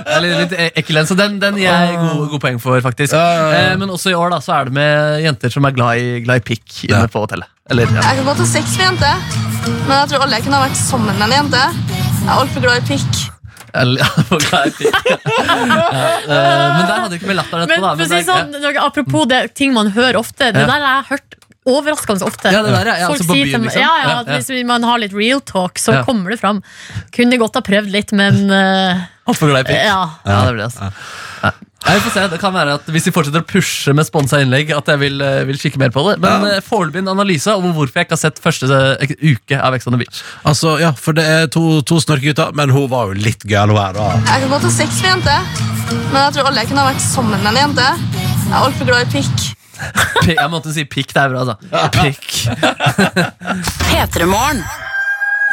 S4: er litt, litt ekkel en, så den, den gir jeg gode, gode poeng for, faktisk.
S2: Ja, ja, ja.
S4: Eh, Men også i år da, så er det med jenter som er glad i, glad i pikk inne
S2: Ja.
S4: på hotellet. Eller, ja.
S9: Jeg kan godt ha sex med jente, men jeg tror alle jeg kunne ha vært sammen med en jente. Jeg er altfor glad i pikk.
S4: Eller, ja, folk er pikk. ja, eh, men der hadde du ikke med latteren
S3: Men
S4: etterpå. da,
S3: for å si
S4: der-
S3: sånn, apropos det ting man hører ofte, det
S4: Ja.
S3: der har jeg hørt overraskende ofte.
S4: Ja, det der, ja, ja, altså på
S3: sier
S4: byen,
S3: til meg-
S4: liksom.
S3: Ja, ja,
S4: Ja,
S3: at
S4: ja.
S3: hvis man har litt real talk, så
S4: Ja.
S3: kommer det fram. Kunne godt ha prøvd litt, men eh,
S4: Altfor glad i pikk.
S3: Ja.
S4: det blir det, altså. Ja. Nei, vi får se. Det kan være at Hvis de fortsetter å pushe med sponsa innlegg, at jeg vil, eh, vil kikke mer på det. Men ja. foreløpig en analyse om hvorfor jeg ikke har sett første eh, uke av Ex on the Beach.
S2: Altså, ja, for det er to, to snorkegutter, men hun var jo litt gøyal, hun her. da.
S12: Jeg kan godt ha sex med en jente, men jeg tror aldri jeg kunne ha vært sammen med en jente. Jeg er altfor glad i pikk.
S4: Pi- Jeg måtte si pikk. Det er bra, altså. Pikk.
S6: P3morgen.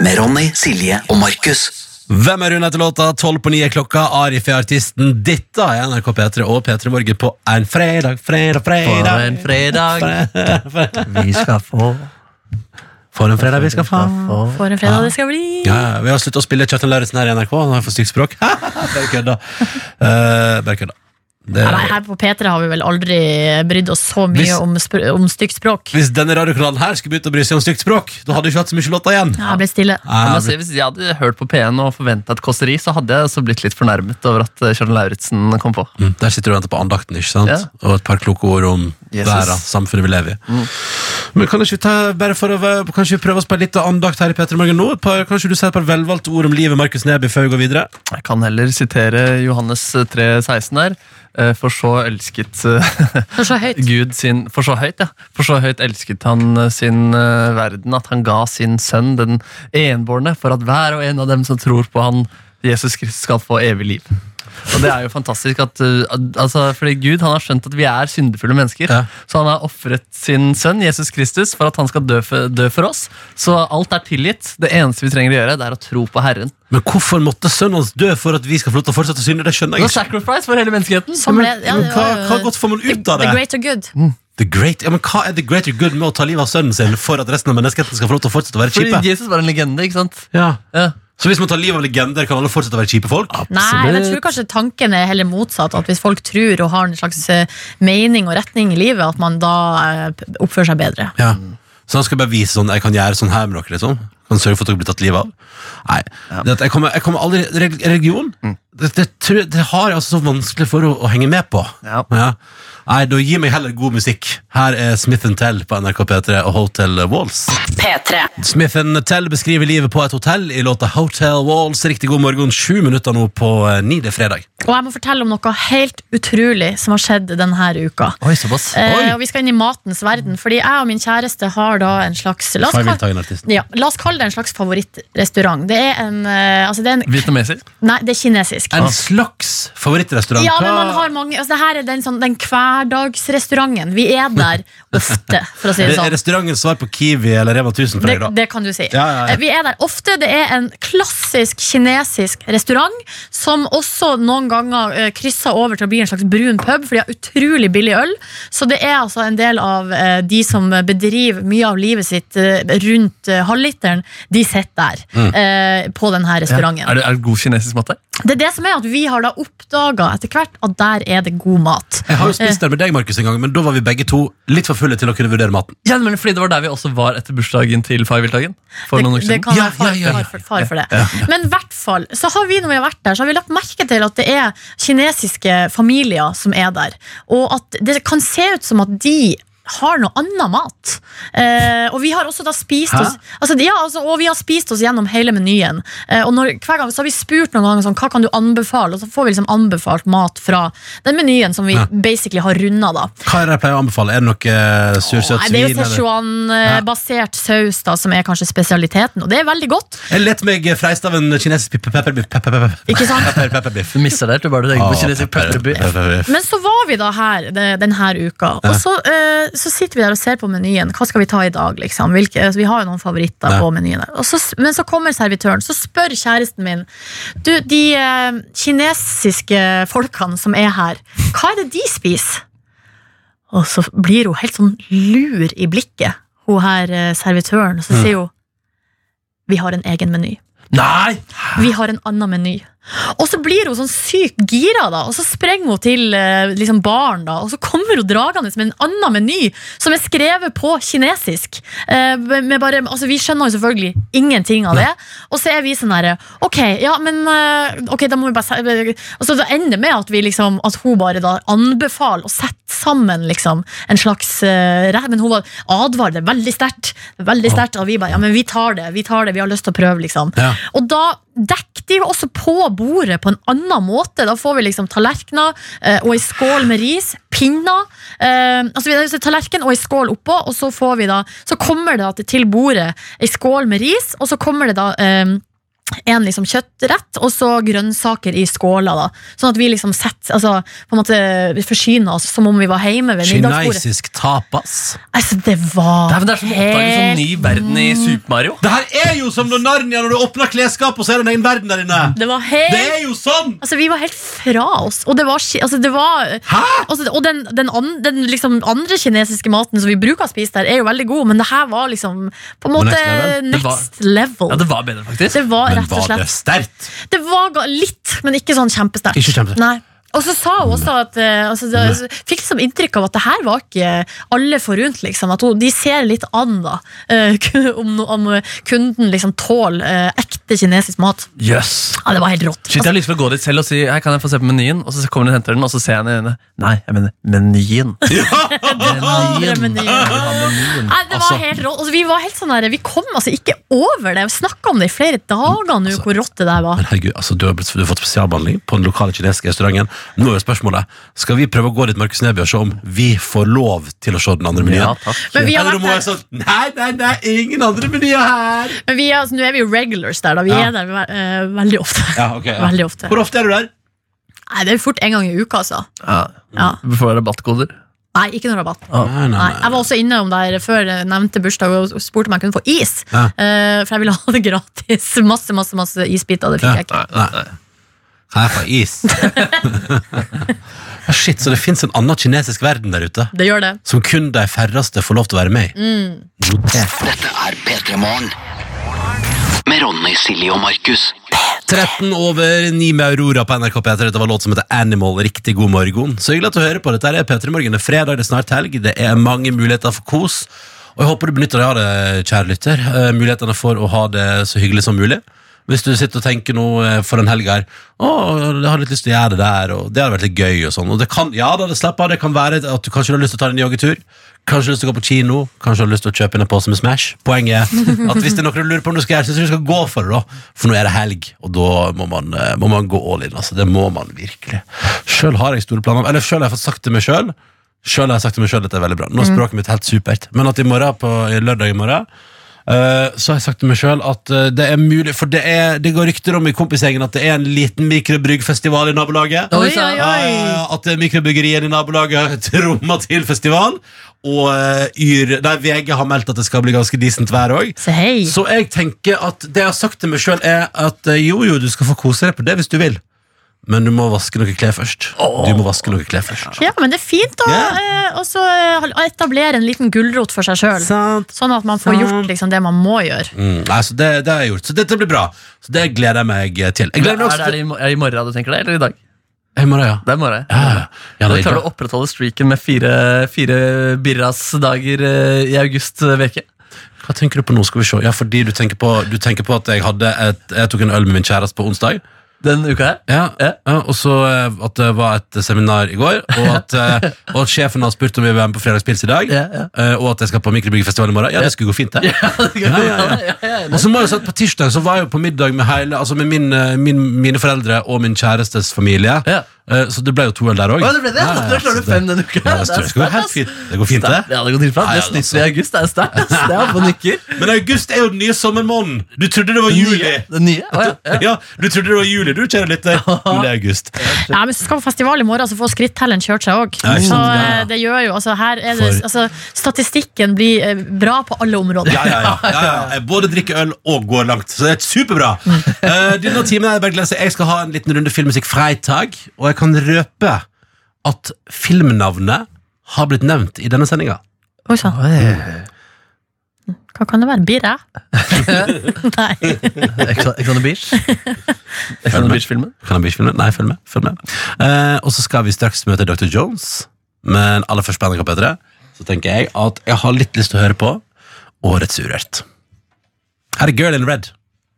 S2: Med Ronny, Silje og Markus. Hvem er hun etter låta? 12 på 9 er klokka. Arif er artisten. Dette er NRK P3 og P3 Morgen på en fredag, fredag, fredag.
S4: For en fredag.
S2: vi skal få For en fredag vi skal få.
S3: For en fredag det skal bli.
S2: Ja, ja, vi har sluttet å spille Kjartan Lauritzen her i NRK. Han har for stygt språk. Bare kødda. Eh, bare kødda. Det-
S3: Nei, her på P3 har vi vel aldri brydd oss så mye
S2: Hvis-
S3: om, spr om stygt språk.
S2: Hvis denne radiokanalen her skulle begynt å bry seg om stygt språk, da hadde vi ikke hatt så mye låter igjen.
S3: Ja, Jeg ble stille.
S4: Men altså, hvis jeg hadde hørt på P1 og forventa et kåseri, så hadde jeg også blitt litt fornærmet over at eh, Kjartan Lauritzen kom på.
S2: Mm, Der sitter du og venter på andakten, ikke sant?
S4: Ja.
S2: Og et par kloke ord om
S4: Jesus. Mm.
S2: verden, samfunnet vi lever i. Men kan ikke vi ta, bare for å, være- kanskje vi prøve oss på en liten andakt her i Petter Morgen nå? Et par, kanskje du sier et par velvalgte ord om livet, Markus Neby, før vi går videre?
S4: Jeg kan heller sitere Johannes 3,16 der. eh, For så elsket eh,
S3: For så høyt.
S4: Gud sin For så høyt, ja. For så høyt elsket han eh, sin eh, verden, at han ga sin sønn, den enbårne, for at hver og en av dem som tror på han, Jesus Kristus, skal få evig liv. Og det er jo fantastisk at eh, al- altså, Fordi Gud han har skjønt at vi er syndefulle mennesker. Så han har ofret sin sønn Jesus Kristus for at han skal dø for, dø for oss. Så alt er tilgitt. Det eneste vi trenger å gjøre, det er å tro på Herren.
S2: Men hvorfor måtte sønnen hans dø for at vi skal få lov til å fortsette å synde? Det skjønner
S4: Det var
S2: jeg ikke.
S4: sacrifice for hele menneskeheten.
S3: Som ble, ja,
S2: Men
S3: det
S2: hva,
S3: var jo-
S2: hva godt får man ut av
S3: The
S2: det?
S3: great or good.
S2: The great, ja, men Hva er the greater good med å ta livet av sønnen sin for at resten av menneskeheten skal få lov til å fortsette å være
S4: Fordi
S2: kjipe?
S4: Jesus var en legende, ikke sant?
S2: Ja.
S4: Ja.
S2: Så hvis man tar livet av legender, kan alle fortsette å være kjipe folk?
S3: Nei, men jeg tror kanskje tanken er heller motsatt. At hvis folk tror og har en slags eh, mening og retning i livet, at man da eh, p- oppfører seg bedre.
S2: Ja. Så han skal bare vise sånn Jeg kan gjøre sånn her med dere, liksom. Kan sørge for at dere blir tatt livet av. Nei. Det at jeg, kommer, jeg kommer aldri reg- Religion det, det, tror jeg- det har jeg altså så vanskelig for å, å henge med på. Ja. Nei, da gir meg heller god musikk. Her er Smith Tell på NRK P3 og Hotel Walls.
S6: P3.
S2: Smith Tell beskriver livet på et hotell i låta Hotel Walls. Riktig god morgen. Sju minutter nå på eh, ni, det er fredag.
S3: Og jeg må fortelle om noe helt utrolig som har skjedd denne uka.
S2: Oi, såpass.
S3: Eh, og vi skal inn i matens verden, fordi jeg og min kjæreste har da en slags La oss, kalle, ja, la oss kalle det en slags favorittrestaurant. Det er en, eh, altså det er en
S4: Vietnamesisk?
S3: Nei, det er kinesisk.
S2: En slags favorittrestaurant.
S3: Ja, men man har mange altså, Det her er den, sånn, den hverdagsrestauranten. Vi er der ofte, for å si det
S2: Er
S3: sånn.
S2: Restauranten svar på Kiwi eller Rema 1000 for deg,
S3: Det,
S2: da.
S3: det kan du si.
S2: Ja, ja, ja.
S3: Eh, Vi er der ofte. Det er en klassisk kinesisk restaurant som også noen ganger eh, krysser over til å bli en slags brun pub, for de har utrolig billig øl. Så det er altså en del av eh, de som bedriver mye av livet sitt eh, rundt eh, halvliteren, de sitter der
S4: Mm.
S3: eh, på denne restauranten.
S4: Ja. Er, det, er det god kinesisk mat der?
S3: Det er det som er at vi har da oppdaga etter hvert at der er det god mat.
S2: Jeg har jo
S3: Eh,
S2: spist der med deg, Markus, en gang, men da var vi begge to litt for fulle til å kunne vurdere maten.
S4: Ja, men fordi Det var der vi også var etter bursdagen til far Wilthagen. For noen uker
S3: det
S4: siden.
S3: kan være far, far, for- far for det. Men i hvert fall, så har vi når vi har vært der, så har vi lagt merke til at det er kinesiske familier som er der. Og at det kan se ut som at de har noe annen mat. Eh, og vi har også da spist
S13: Hæ?
S3: oss altså, ja, altså, Og vi har spist oss gjennom hele menyen. Eh, og når, hver gang så har vi spurt noen ganger sånn, hva kan du anbefale, og så får vi liksom anbefalt mat fra den menyen som vi
S2: Ja.
S3: basically har runda, da.
S2: Hva er det jeg pleier å anbefale? Er det noe eh, sursøt
S3: Nei,
S2: svin?
S3: det er jo
S2: eller?
S3: Sichuan-basert saus da, som er kanskje spesialiteten, og det er veldig godt.
S2: Jeg lette meg eh, freist av en kinesisk pe- pe- pepperbiff. pe- pe- pe- pe-
S3: Ikke sant?
S2: pepper- Pepperbiff.
S4: Du misser det, du bare tenker på
S2: Å,
S4: kinesisk
S2: pepper- pepperbiff.
S3: Men så var vi da her de- denne uka,
S2: Ja.
S3: og så, eh, så sitter vi der og ser på menyen. Hva skal vi ta i dag, liksom? Hvilke, altså, vi har jo noen favoritter
S13: Ja.
S3: på menyen. der. Og så, men så kommer servitøren, så spør kjæresten min Du, de eh, kinesiske folkene som er her, hva er det de spiser? Og så blir hun helt sånn lur i blikket, hun her eh, servitøren, og så
S13: Mm.
S3: sier hun Vi har en egen meny.
S4: Nei!
S3: Vi har en annen meny. Og så blir hun sånn sykt gira, da, og så sprenger hun til eh, liksom baren. da, Og så kommer hun dragende med en annen meny som er skrevet på kinesisk. Eh, med bare, altså Vi skjønner jo selvfølgelig ingenting av det. Og så er vi sånn herre Ok, ja, men eh, Ok, da må vi bare se- Og så da ender det med at, vi liksom, at hun bare da anbefaler å sette sammen liksom en slags eh, re- Men hun var- advarte veldig sterkt. Veldig sterkt, Og vi bare ja, men vi tar det, vi tar det, vi har lyst til å prøve, liksom.
S2: Ja.
S3: Og da dekker de jo også på bordet på en annen måte. Da får vi liksom tallerkener eh, og ei skål med ris, pinner eh, Altså vi har jo tallerken og ei skål oppå, og så får vi da Så kommer det at det til bordet ei skål med ris, og så kommer det da eh, en liksom kjøttrett og så grønnsaker i skåla. da Sånn at vi liksom setter, altså, på en måte vi forsyner oss som om vi var hjemme ved middagsbordet.
S2: Kinesisk tapas.
S3: Altså, det var
S4: Det er som å oppdage en sånn ny verden i Super Mario.
S2: Det her er jo som når Narnia når du åpner klesskapet, og så er det en egen verden der inne.
S3: Det var helt
S2: Det er jo sånn!
S3: Altså, vi var helt fra oss. Og det var, ki- altså, det var altså, Og den, den, an, den liksom andre kinesiske maten som vi bruker å spise der, er jo veldig god, men det her var liksom på
S2: På
S3: en måte
S2: next level. Det var-
S3: next level.
S4: Ja, det var bedre, faktisk.
S3: Det var
S2: Men
S3: rett og
S2: var det
S3: slett
S2: sterkt?
S3: Det var ga- litt, men ikke sånn kjempesterkt.
S2: Ikke kjempesterkt.
S3: Nei. Og så sa hun også at eh, altså, det, altså, Fikk liksom inntrykk av at det her var ikke alle forunt. Liksom, at hun, de ser litt an, da. eh, kun- om, no- om eh, kunden liksom tåler eh, ekte kinesisk mat.
S4: Yes.
S3: Ja, det var helt rått.
S4: Shit, jeg har lyst til å gå dit selv og si Hei, kan jeg få se på menyen. Og så kommer hun og henter den, og så ser jeg den i øynene. Nei, jeg mener menyen.
S3: Nei, det var helt rått. Altså, vi var helt sånn der, vi kom altså ikke over det. Vi snakka om det i flere dager nå, hvor rått det der var.
S2: Altså, Men herregud, altså, du, har blitt, du har fått spesialbehandling på den lokale kinesiske restauranten. Nå er jo spørsmålet Skal vi prøve å gå dit Markus Neby og se om vi får lov til å se den andre menyen?
S4: Ja, takk.
S3: Men vi har
S2: Eller
S3: vært
S2: om hun
S3: der.
S2: er sånn Nei, nei, nei, ingen andre menyer her!
S3: Men vi, er- altså, nå er vi jo regulars der, da. Vi
S2: Ja.
S3: er der eh, veldig ofte.
S2: Ja, ok, ja.
S3: Veldig ofte.
S2: Hvor ofte er du der?
S3: Nei, Det er fort en gang i uka, altså.
S4: Ja.
S3: Ja.
S4: Vi får rabattkoder.
S3: Nei, ikke noe rabatt.
S2: Nei, nei,
S3: Nei,
S2: nei.
S3: jeg var også innom der før jeg nevnte bursdag og spurte om jeg kunne få is.
S2: Ja.
S3: Eh, for jeg ville ha det gratis. Masse masse, masse isbiter. Det fikk jeg ikke.
S2: Nei, nei. Her får jeg is. Ja, Ah, Shit, så det fins en annen kinesisk verden der ute
S3: Det gjør det.
S2: som kun de færreste får lov til å være med i.
S3: Mm.
S1: Dette er P3 Morgen. Med Ronny, Silje og Markus.
S2: 13 over 9 med Aurora på NRK P3. Dette var låt som heter Animal. Riktig god morgen. Så hyggelig at du hører på. Dette er P3 Morgen. Det er fredag, det er snart helg. Det er mange muligheter for kos. Og jeg håper du benytter deg av det, kjære lytter. Eh, Mulighetene for å ha det så hyggelig som mulig. Hvis du sitter og tenker nå eh, for en helg her Å, jeg har litt lyst til å gjøre det der, og det hadde vært litt gøy og sånn. Og det kan, ja da, det slapper av. Det kan være at du kanskje har lyst til å ta deg en joggetur. Kanskje du har lyst til å gå på kino, kanskje du har lyst til å kjøpe inn en pose med Smash. Poenget er at hvis det er noe du lurer på om du skal gjøre, så syns jeg du skal gå for det, da. For nå er det helg, og da må man, eh, må man gå all in. Altså. Det må man virkelig. Sjøl har jeg store planer, om- eller sjøl har jeg fått sagt til meg sjøl. Sjøl har jeg sagt til meg sjøl dette er veldig bra. Nå er
S13: Mm.
S2: språket mitt helt supert. Men at i morgen, på i lørdag i morgen, eh, så har jeg sagt til meg sjøl at eh, det er mulig For det, er, det går rykter om i kompisgjengen at det er en liten mikrobryggfestival i nabolaget.
S4: Oi, oi, oi.
S2: Ja, ja, ja, at det er mikrobryggerier i nabolaget trommer til festival. Og eh, yr, nei, VG har meldt at det skal bli ganske decent vær òg.
S3: Så,
S2: jeg tenker at det jeg har sagt til meg sjøl, er at eh, jo, jo, du skal få kose deg på det hvis du vil. Men du må vaske noen klær først. Du må vaske noen klær først.
S3: Ja, men det er fint å eh, også, eh, etablere en liten gulrot for seg sjøl. Sånn at man får gjort liksom, det man må gjøre.
S2: Mm, nei, så det, det har jeg gjort. Så dette blir bra. Så det gleder jeg meg til. Jeg gleder meg
S4: er
S2: også
S4: det altså, i,
S2: til
S4: mo- er det i morgen du tenker det, eller i dag?
S2: I morgen, ja.
S4: Det er i morgen.
S2: Ja,
S4: da
S2: det er i
S4: klarer du å opprettholde streaken med fire, fire birras dager eh, i august eh, veke.
S2: Hva tenker du på nå? Skal vi se. Ja, fordi du tenker på, du tenker på at jeg, hadde et, jeg tok en øl med min kjæreste på onsdag.
S4: Den uka her?
S2: Ja, ja, Og så eh, at det var et seminar i går, og at, eh, og at sjefen har spurt om vi vil være med på fredagspils i dag. eh, Og at jeg skal på mikrobryggefestival i morgen. Ja, det skulle gå fint, det. Ja, ja, ja. Og så må jeg si at På tirsdag så var jeg jo på middag med, hele, altså med min, eh, min, mine foreldre og min kjærestes familie. Eh, Så det ble jo to øl der òg.
S4: Å, det ble det? Da klarer du fem denne uka.
S2: Ja, det,
S4: Det er
S2: skal gå
S4: sterkt,
S2: helt
S4: ass.
S2: fint. det går fint, det.
S4: Ja, det går dritbra. Det snitter vi i august. Det er sterkt. ass. Det er på nikker.
S2: Men august er jo den nye sommermåneden. Du trodde det var juli.
S4: Den nye? Å, ja.
S2: ja. du trodde det var juli, du, kjære lytter. Men det er august.
S3: Ja, men så skal vi på festival i morgen, så får skrittelleren kjørt seg òg.
S2: Ja, ikke sant,
S3: Så
S2: ja,
S3: eh,
S2: ja.
S3: det gjør jo altså, her er det,
S2: For-
S3: altså, Statistikken blir eh, bra på alle områder.
S2: Ja, ja, ja. ja, ja. Jeg både drikker øl og går langt. Så det er superbra. Uh, denne timen er det bare å glede seg. Jeg skal ha en liten runde filmmusikk fredag, og jeg kan røpe at filmnavnet har blitt nevnt i denne sendinga.
S3: Oi sann. sånn. Hva kan det være? Birre? Nei.
S4: Ex Ex on the Beach? Ex on the Beach-filmen?
S2: Kan han bli filmet? Nei, følg med. Følg med. Eh, og så skal vi straks møte Dr. Jones, men aller først på NRK P3 så tenker jeg at jeg har litt lyst til å høre på Årets Urørt. Her er Girl in Red.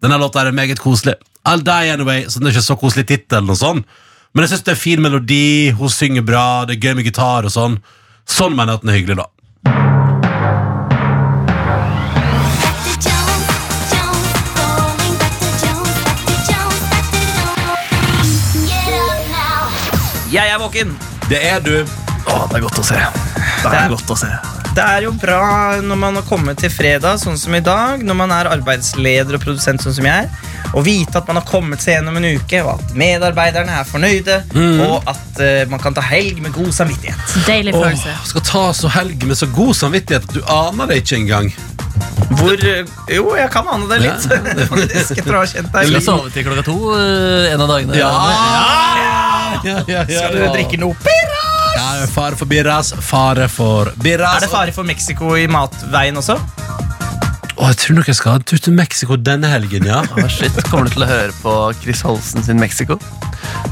S2: Denne låta er meget koselig. I'll die anyway, så den er ikke så koselig tittel eller noe sånn. Men jeg synes det er fin melodi, hun synger bra, det er gøy med gitar og sånn. Sånn mener jeg at den er hyggelig, da.
S5: Jeg er våken!
S2: Det er du.
S4: Å, det er godt å se. Det er godt å se.
S5: Det er jo bra når man har kommet til fredag, sånn som i dag, når man er arbeidsleder og produsent, sånn som jeg er, og vite at man har kommet seg gjennom en uke, og at medarbeiderne er fornøyde,
S2: Mm.
S5: og at eh, man kan ta helg med god samvittighet.
S3: Deilig
S2: Åh,
S3: følelse.
S2: skal ta så helg med så god samvittighet at du aner det ikke engang.
S5: Hvor eh, Jo, jeg kan ane det litt,
S2: Ja.
S5: faktisk, etter å ha kjent
S4: Du
S5: deg
S4: skal
S5: litt.
S4: sove til klokka to eh, en av dagene.
S5: Skal du drikke noe pirras?
S2: Ja, det er fare for birras, fare for birras.
S5: Er det fare for Mexico i matveien også?
S2: Åh, jeg tror nok jeg skal ha en tur til Mexico denne helgen, ja.
S4: Å, shit, Kommer du til å høre på Chris Holsen sin Mexico?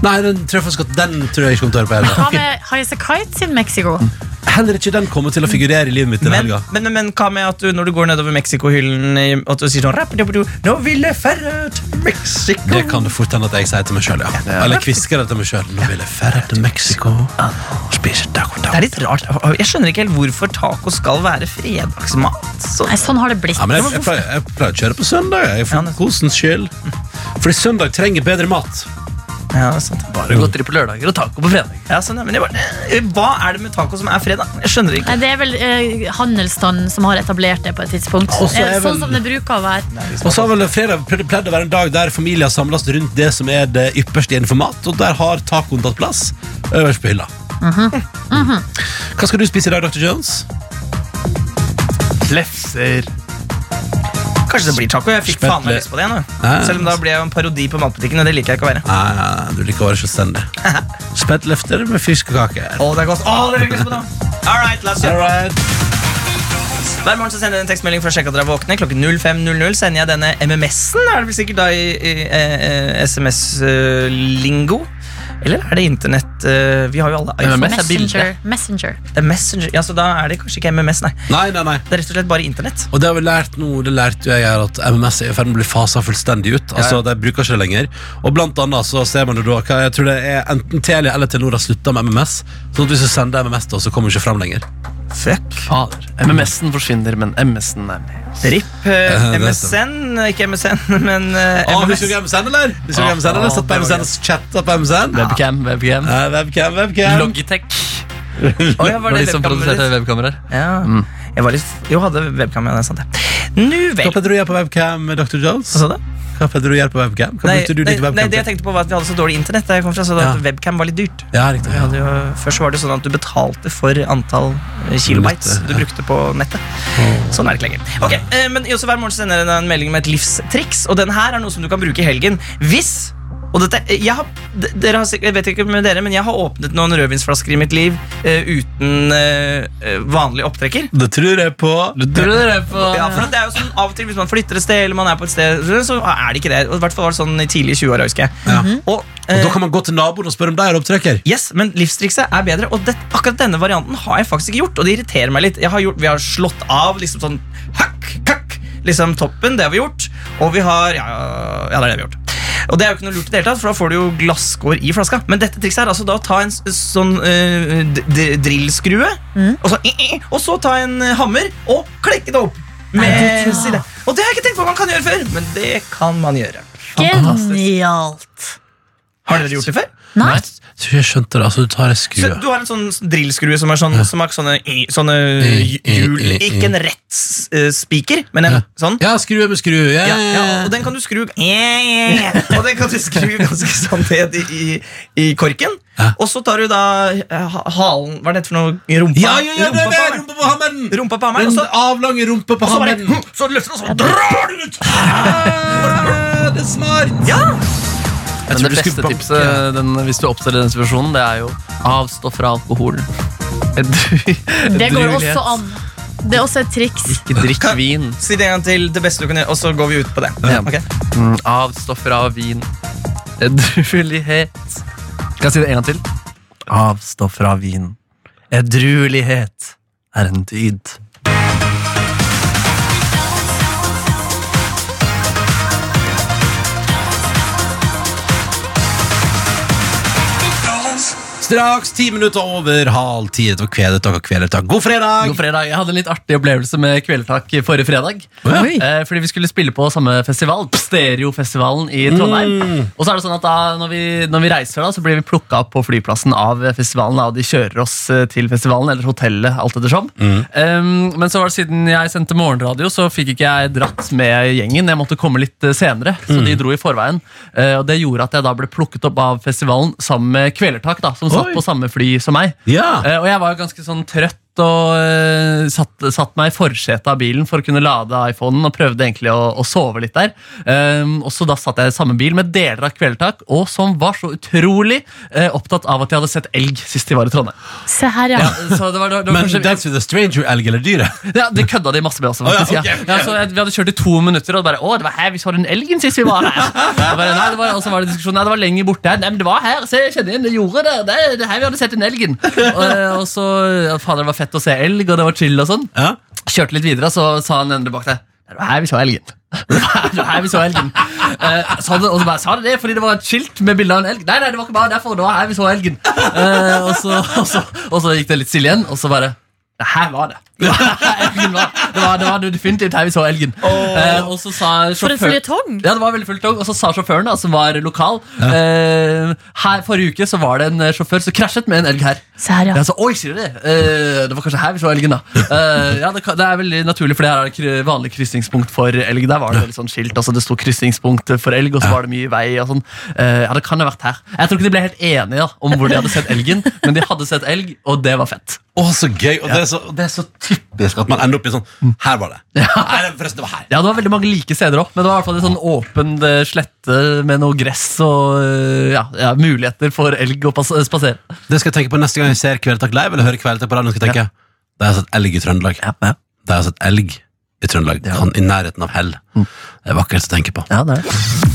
S2: Nei, den tror jeg faktisk at den tror jeg ikke kommer til å høre på
S3: Men hva
S2: heller.
S3: med Highas a Kite sin Mexico?
S2: Mm. Heller ikke den kommer til å figurere i livet mitt denne
S5: Men,
S2: helga.
S5: men, men hva med at du når du går nedover Mexico-hyllen i- At du sier sånn "Rappidappidu, Nå vil jeg ferde til Mexico
S2: Det kan det fort hende at jeg sier til meg sjøl, ja. Eller kvisker det til meg sjøl. Nå vil jeg ferde til Mexico og spise taco
S5: Det
S2: taco.
S5: er litt rart. Jeg skjønner ikke helt hvorfor taco skal være fredagsmat. Så,
S3: Nei, sånn har det blitt.
S2: Ja, men jeg, jeg, pleier, jeg pleier å kjøre på søndag, jeg, for kosens skyld. Fordi søndag trenger bedre mat.
S5: ja, det er sant.
S2: Bare godt.
S4: Godteri på lørdager og taco på fredag.
S5: Ja, sånn, ja, men det var, hva er det med taco som er fredag? Jeg skjønner det ikke.
S3: Nei, det er vel eh, handelsstanden som har etablert det på et tidspunkt.
S2: Og så
S3: Eh,
S2: er vel-
S3: Sånn som det bruker å være.
S2: Og så har vel fredag pleid pleid å være en dag der familier samles rundt det som er det ypperste innenfor mat, og der har tacoen tatt plass øverst på hylla. Mhm. Mm. Hva skal du spise i dag, Dr. Jones?
S4: Lefser.
S5: Kanskje det blir taco. Jeg fikk
S2: Spett
S5: faen meg
S2: litt.
S5: lyst på det nå.
S2: Nei.
S5: Selv om da blir jeg jo en parodi på matbutikken, og det liker jeg ikke å være.
S2: Nei, nei, du liker å være selvstendig. Spettlefter med fiskekaker.
S5: Å, det er godt. Å, det fikk jeg lyst på nå. All right, la oss
S2: All
S5: gjøre det.
S2: right.
S5: Hver morgen så sender jeg en tekstmelding for å sjekke at dere er våkne. Klokken 05.00 sender jeg denne MMS-en. Er det vel sikkert da i, i eh, eh, SMS-lingo? Eller er det internett? eh, Vi har jo alle iPhone.
S4: MMS er bilde.
S3: Messenger. Messenger.
S5: Det er Messenger. Ja, så da er det kanskje ikke MMS, nei.
S2: Nei, nei, nei.
S5: Det er rett og slett bare internett.
S2: Og det har vi lært nå, det lærte jo jeg her, at MMS er i ferd med å bli fasa fullstendig ut. Altså, De bruker ikke det lenger. Og blant annet så ser man jo da hva Jeg tror det er enten Telia eller Telenor har slutta med MMS. Sånn at hvis du sender MMS, da, så kommer det ikke fram lenger.
S5: Fuck.
S4: Fader. MMS-en forsvinner, men MS-en er med.
S5: RIP. eh,
S2: Eh, det er
S5: MSN. Ikke MSN, men eh,
S2: Å,
S5: MMS.
S2: husker du MSN, eller? Husker du
S4: Ja.
S2: MSN, eller?
S5: Ah,
S4: Ja,
S2: Satt på
S4: det var
S2: MSN og chatta på MSN?
S4: Webcam, webcam.
S2: Eh, Webcam, webcam.
S4: Logitech.
S5: Å, ja, var
S4: var
S5: det
S4: de som
S5: webkameraet
S4: produserte
S5: ditt?
S4: webkameraer.
S5: Ja.
S2: Mm.
S5: Jeg var litt Jo, hadde webcam, ja. Det er sant, det. Nu vel.
S2: Hva pleide du å gjøre på webcam, Dr. Jones?
S5: Hva sa du?
S2: Hva pleide du å gjøre på webcam? Hva
S5: Nei,
S2: brukte du
S5: nei,
S2: ditt
S5: nei,
S2: webcam
S5: det jeg
S2: til?
S5: tenkte på var at vi hadde så dårlig internett der jeg kom fra, så
S2: Ja.
S5: at webcam var litt dyrt.
S2: Ja, riktig.
S5: Vi
S2: Ja.
S5: hadde jo, først var det sånn at du betalte for antall eh, kilobytes
S2: Minutter,
S5: du brukte på nettet. Sånn er det ikke lenger. Ok, eh, men i også Hver morgen sender jeg en melding med et livstriks, og den her er noe som du kan bruke i helgen hvis og dette, eh, jeg, har, d- dere har, sikk- jeg vet ikke med dere, men jeg har åpnet noen rødvinsflasker i mitt liv eh, uten eh, eh, vanlig opptrekker.
S2: Det tror jeg på.
S4: Tror du det på
S5: Ja, for det er jo sånn Av og til hvis man flytter et sted, eller man er på et sted, så er det ikke det. Og I hvert fall var det sånn i tidlige 20-åra, husker jeg.
S2: Ja.
S5: Og,
S2: Og
S5: eh,
S2: da kan man gå til naboen og spørre om de har opptrekker.
S5: Yes, men livstrikset er bedre, og det, akkurat denne varianten har jeg faktisk ikke gjort. Og det irriterer meg litt. Jeg har gjort, vi har slått av liksom sånn hakk, kakk, liksom toppen. Det har vi gjort. Og vi har Ja, ja det er det vi har gjort. Og det er jo ikke noe lurt, i det hele tatt, for da får du jo glasskår i flaska. Men dette trikset er altså da å ta en s- sånn eh, d- d- drillskrue, og, så, i- i- og så ta en eh, hammer og klekke det opp.
S3: Nei,
S5: Med
S3: du
S5: side. Og det har jeg ikke tenkt på at man kan gjøre før, men det kan man gjøre.
S3: Genialt.
S5: Har dere gjort det før?
S3: Nei.
S2: Jeg tror jeg skjønte det. Altså, du tar ei
S5: Så
S2: skue.
S5: du har en sånn drillskrue som er sånn, som har sånne, i- sånne
S2: I- i-
S5: hjul
S2: i- i-
S5: Ikke en rett s- eh, spiker, men en sånn.
S2: Ja, skrue med skrue. Ja, ja,
S5: Ja,
S2: ja.
S5: ja, og den kan du skru Eh, Og den kan du skru ganske sånn ned i, i, i korken.
S2: Ja.
S5: Og så tar du da eh, ha- halen Hva er det for noe? Rumpa?
S2: Ja, ja, ja, det er
S5: rumpa, på hammeren.
S2: rumpa på hammeren!
S5: rumpa på hammeren.
S2: Den
S5: Og så,
S2: avlange rumpa på
S5: og så, bare,
S2: hammeren.
S5: hm, så løfter du, og så drar du den ut!
S2: Ah, Det er smart!
S5: Ja!
S2: Jeg
S4: Men
S2: tror
S4: det
S2: du skulle
S4: beste
S2: banke-
S4: tipset den, hvis du oppstiller den situasjonen, det er jo avstå fra alkohol. Edru-
S3: Det går
S4: edruelighet.
S3: også an. Det er også et triks.
S4: Ikke drikk vin.
S5: Si det en gang til det beste du kan gjøre, og så går vi ut på det. Ok?
S4: Mm, Avstoffer av vin. Edruelighet. Skal jeg si det en gang til? Avstoffer av vin. Edruelighet er en dyd.
S2: Straks ti minutter over halv ti. Dette var Kvelertak og Kvelertak. God fredag!
S4: God fredag. Jeg hadde en litt artig opplevelse med Kvelertak forrige fredag.
S2: Oi.
S4: Eh, fordi vi skulle spille på samme festival, Stereofestivalen i Trondheim.
S2: Mm.
S4: Og så er det sånn at da, når vi, når vi reiser da, så blir vi plukka opp på flyplassen av festivalen, da, og de kjører oss eh, til festivalen eller hotellet, alt ettersom.
S2: Mm.
S4: Um, men så var det siden jeg sendte morgenradio, så fikk ikke jeg dratt med gjengen. Jeg måtte komme litt eh, senere, så
S2: Mm.
S4: de dro i forveien. Eh, og Det gjorde at jeg da ble plukket opp av festivalen sammen med Kvelertak, da, som satt
S2: Oi.
S4: på samme fly som meg.
S2: Ja.
S4: Eh, og jeg var jo ganske sånn trøtt og eh, satt, satt meg i forsetet av bilen for å kunne lade iPhonen og prøvde egentlig å, å sove litt der. Um, og så da satt jeg i samme bil med deler av Kvelertak, og som var så utrolig eh, opptatt av at jeg hadde sett elg sist de var i Trondheim.
S3: Se her, ja.
S4: Ja, så det var, det var
S2: Men
S4: kanskje-
S2: Dance with a Stranger, elg eller dyr?
S4: ja, Det kødda de masse med også.
S2: Å, ja,
S4: faktisk, ja,
S2: ok, ok.
S4: ja, så jeg- Vi hadde kjørt i to minutter, og bare 'Å, det var her vi så den elgen sist vi var her'. Jeg Bare, nei, det var, og så var det diskusjon Nei, det var lenger borte her. Nei, men det var her. Se, jeg kjenner igjen det jordet der. Det er det er her vi hadde sett den elgen. Og, og så ja, Fader, det var fett å se elg, og det var chill og sånn. Kjørte litt videre, så sa han endre bak der Det var her vi så elgen. Det var- det var her vi så elgen. Eh, sa det, og så bare, sa det det fordi det var et skilt med bilde av en elg? Nei, nei, det var ikke bare derfor. Det var her vi så elgen. Eh, og, så, og, så, og så gikk det litt stille igjen, og så bare Det her var det. Elgen var, det, var, det var definitivt her vi så elgen. Eh, og så sa
S3: For en
S4: sjåfør-
S3: føljetong.
S4: Ja, det var veldig føljetong. Og så sa sjåføren, da, som var lokal eh, her Forrige uke så var det en eh, sjåfør som krasjet med en elg her.
S3: Se her, ja.
S4: Jeg sa, Oi, sier du det? Eh, det var kanskje her vi så elgen, da. Eh, ja, det, kan- det er veldig naturlig, for det her er kry- vanlig krysningspunkt for elg. Der var det veldig sånn skilt, altså Det sto krysningspunkt for elg, og så var det mye vei. og sånn Eh, Ja, det kan ha vært her. Jeg tror ikke de ble helt enige da, om hvor de hadde sett elgen, men de hadde sett elg, og det var fett.
S2: Å, så gøy! Og det, er så, og det er så typisk at man ender opp i sånn Her var det. Nei, det- forresten, det var her.
S4: Ja, Det var veldig mange like steder òg, men det var i hvert fall en sånn åpen eh, slette med noe gress og eh, ja, ja, muligheter for elg å pas- spasere.
S2: Det skal jeg tenke på neste gang jeg ser Kvelertak live, eller hører Kvelertak på radioen. skal jeg tenke Der har jeg sett elg i Trøndelag. altså Der har jeg sett elg i Trøndelag. Han, I nærheten av hell. Det er vakkert å tenke på.
S4: Ja, det er det.